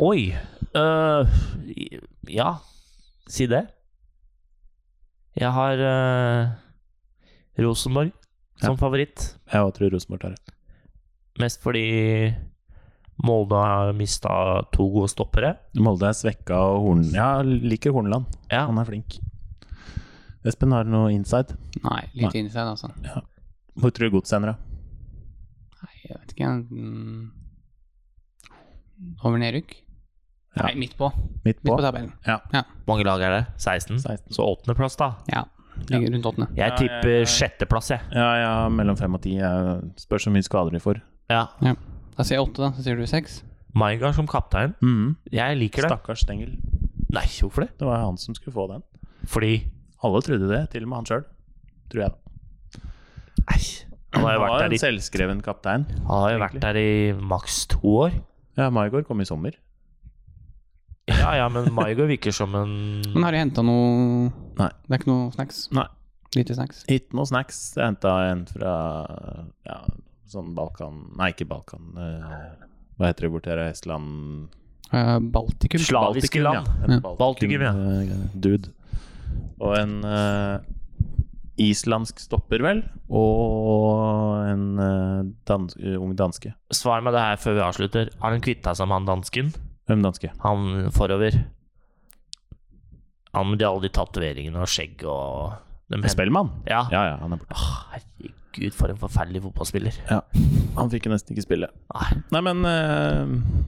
[SPEAKER 3] Oi! Øh, i- ja, si det. Jeg har øh, Rosenborg som favoritt.
[SPEAKER 1] Jeg tror Rosenborg tar det.
[SPEAKER 3] Mest fordi Molde har mista to gode stoppere.
[SPEAKER 1] Molde er svekka, og Horn... Ja, liker Hornland.
[SPEAKER 3] Ja.
[SPEAKER 1] Han er flink. Espen har noe inside.
[SPEAKER 2] Nei, litt inside, altså.
[SPEAKER 1] Hvor tror du Godset ender, da?
[SPEAKER 2] Nei, jeg vet ikke. mm. Over nedrykk?
[SPEAKER 1] Ja.
[SPEAKER 2] Nei, midt på.
[SPEAKER 1] Midt
[SPEAKER 2] Midt
[SPEAKER 1] på?
[SPEAKER 2] på tabellen.
[SPEAKER 3] Hvor mange lag er det? 16?
[SPEAKER 1] 16.
[SPEAKER 3] Så åttendeplass, da.
[SPEAKER 2] Ja. Ligger rundt åttende.
[SPEAKER 3] Jeg
[SPEAKER 1] Ja,
[SPEAKER 3] tipper
[SPEAKER 1] ja, ja.
[SPEAKER 3] sjetteplass, jeg.
[SPEAKER 1] Ja, ja, mellom fem og ti. Jeg Spørs hvor mye skader de får.
[SPEAKER 3] Ja.
[SPEAKER 2] Da sier jeg åtte, da. Så sier du seks.
[SPEAKER 3] Maigard som kaptein.
[SPEAKER 1] Mhm.
[SPEAKER 3] Jeg liker det.
[SPEAKER 1] Stakkars Stengel.
[SPEAKER 3] Nei, hvorfor det?
[SPEAKER 1] Det var han som skulle få den.
[SPEAKER 3] Fordi
[SPEAKER 1] Alle trodde det, til og med han sjøl. Tror jeg.
[SPEAKER 3] Nei. Han har jo
[SPEAKER 1] Han
[SPEAKER 3] vært
[SPEAKER 1] var
[SPEAKER 3] der
[SPEAKER 1] en
[SPEAKER 3] i,
[SPEAKER 1] selvskreven kaptein.
[SPEAKER 3] han har jo vært der i maks to år.
[SPEAKER 1] Ja, Maigard kom i sommer.
[SPEAKER 3] Ja ja, men Maigard virker som en
[SPEAKER 2] Men har de henta noe
[SPEAKER 1] Nei.
[SPEAKER 2] Det er ikke noe snacks?
[SPEAKER 1] Nei.
[SPEAKER 2] Lite snacks?
[SPEAKER 1] Hit noe snacks. Jeg henta en fra ja, sånn Balkan Nei, ikke Balkan. eh, hva heter det borti her? Estland
[SPEAKER 2] Eh, Baltikum?
[SPEAKER 3] slaviske land.
[SPEAKER 1] Ja, en
[SPEAKER 2] Ja.
[SPEAKER 3] Baltikum, ja.
[SPEAKER 1] eh, Dude. Og en eh, islandsk stopper, vel. Og en eh, dans ung danske.
[SPEAKER 3] Svar meg det her før vi avslutter. Har han kvitta seg med han dansken?
[SPEAKER 1] Hvem danske?
[SPEAKER 3] Han forover? Han med de- alle de tatoveringene og skjegg og de hen-
[SPEAKER 1] Spellemann?
[SPEAKER 3] Ja.
[SPEAKER 1] Ja, ja, han er borte.
[SPEAKER 3] Åh, herregud, for en forferdelig fotballspiller. Ah,
[SPEAKER 1] Han fikk jo nesten ikke spille.
[SPEAKER 3] Nei.
[SPEAKER 1] Nei, men eh,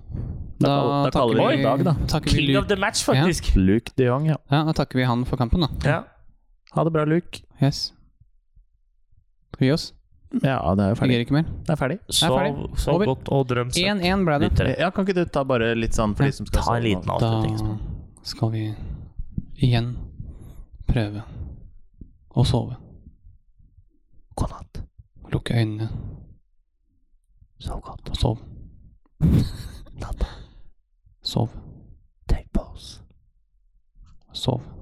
[SPEAKER 1] Da kall- da kaller vi det i dag, da.
[SPEAKER 2] Takker vi
[SPEAKER 3] King of
[SPEAKER 2] Luke.
[SPEAKER 3] the match, faktisk.
[SPEAKER 1] Luke de Jong, ja.
[SPEAKER 2] Ja, da takker vi han for kampen, da.
[SPEAKER 3] Ja.
[SPEAKER 1] Ha det bra, Luke.
[SPEAKER 2] Yes. Skal vi gi oss?
[SPEAKER 1] Ja, det er jo ferdig.
[SPEAKER 2] Fungerer ikke mer.
[SPEAKER 1] Det er ferdig.
[SPEAKER 3] Sov,
[SPEAKER 2] ferdig.
[SPEAKER 3] sov
[SPEAKER 2] Over.
[SPEAKER 3] godt og drøm søtt.
[SPEAKER 2] 1-1 ble det.
[SPEAKER 3] Lyttere.
[SPEAKER 1] Ja, kan ikke du ta bare litt sånn for
[SPEAKER 2] Ja,
[SPEAKER 1] de som skal
[SPEAKER 3] Ta en
[SPEAKER 1] sove
[SPEAKER 3] liten
[SPEAKER 1] nå?
[SPEAKER 2] Da
[SPEAKER 3] avslutning.
[SPEAKER 2] skal vi igjen prøve å sove.
[SPEAKER 3] God natt.
[SPEAKER 2] Lukke øynene
[SPEAKER 3] Sov godt.
[SPEAKER 2] og sov.
[SPEAKER 3] Natta.
[SPEAKER 2] Sov.
[SPEAKER 3] Tenk på oss.
[SPEAKER 2] Sov.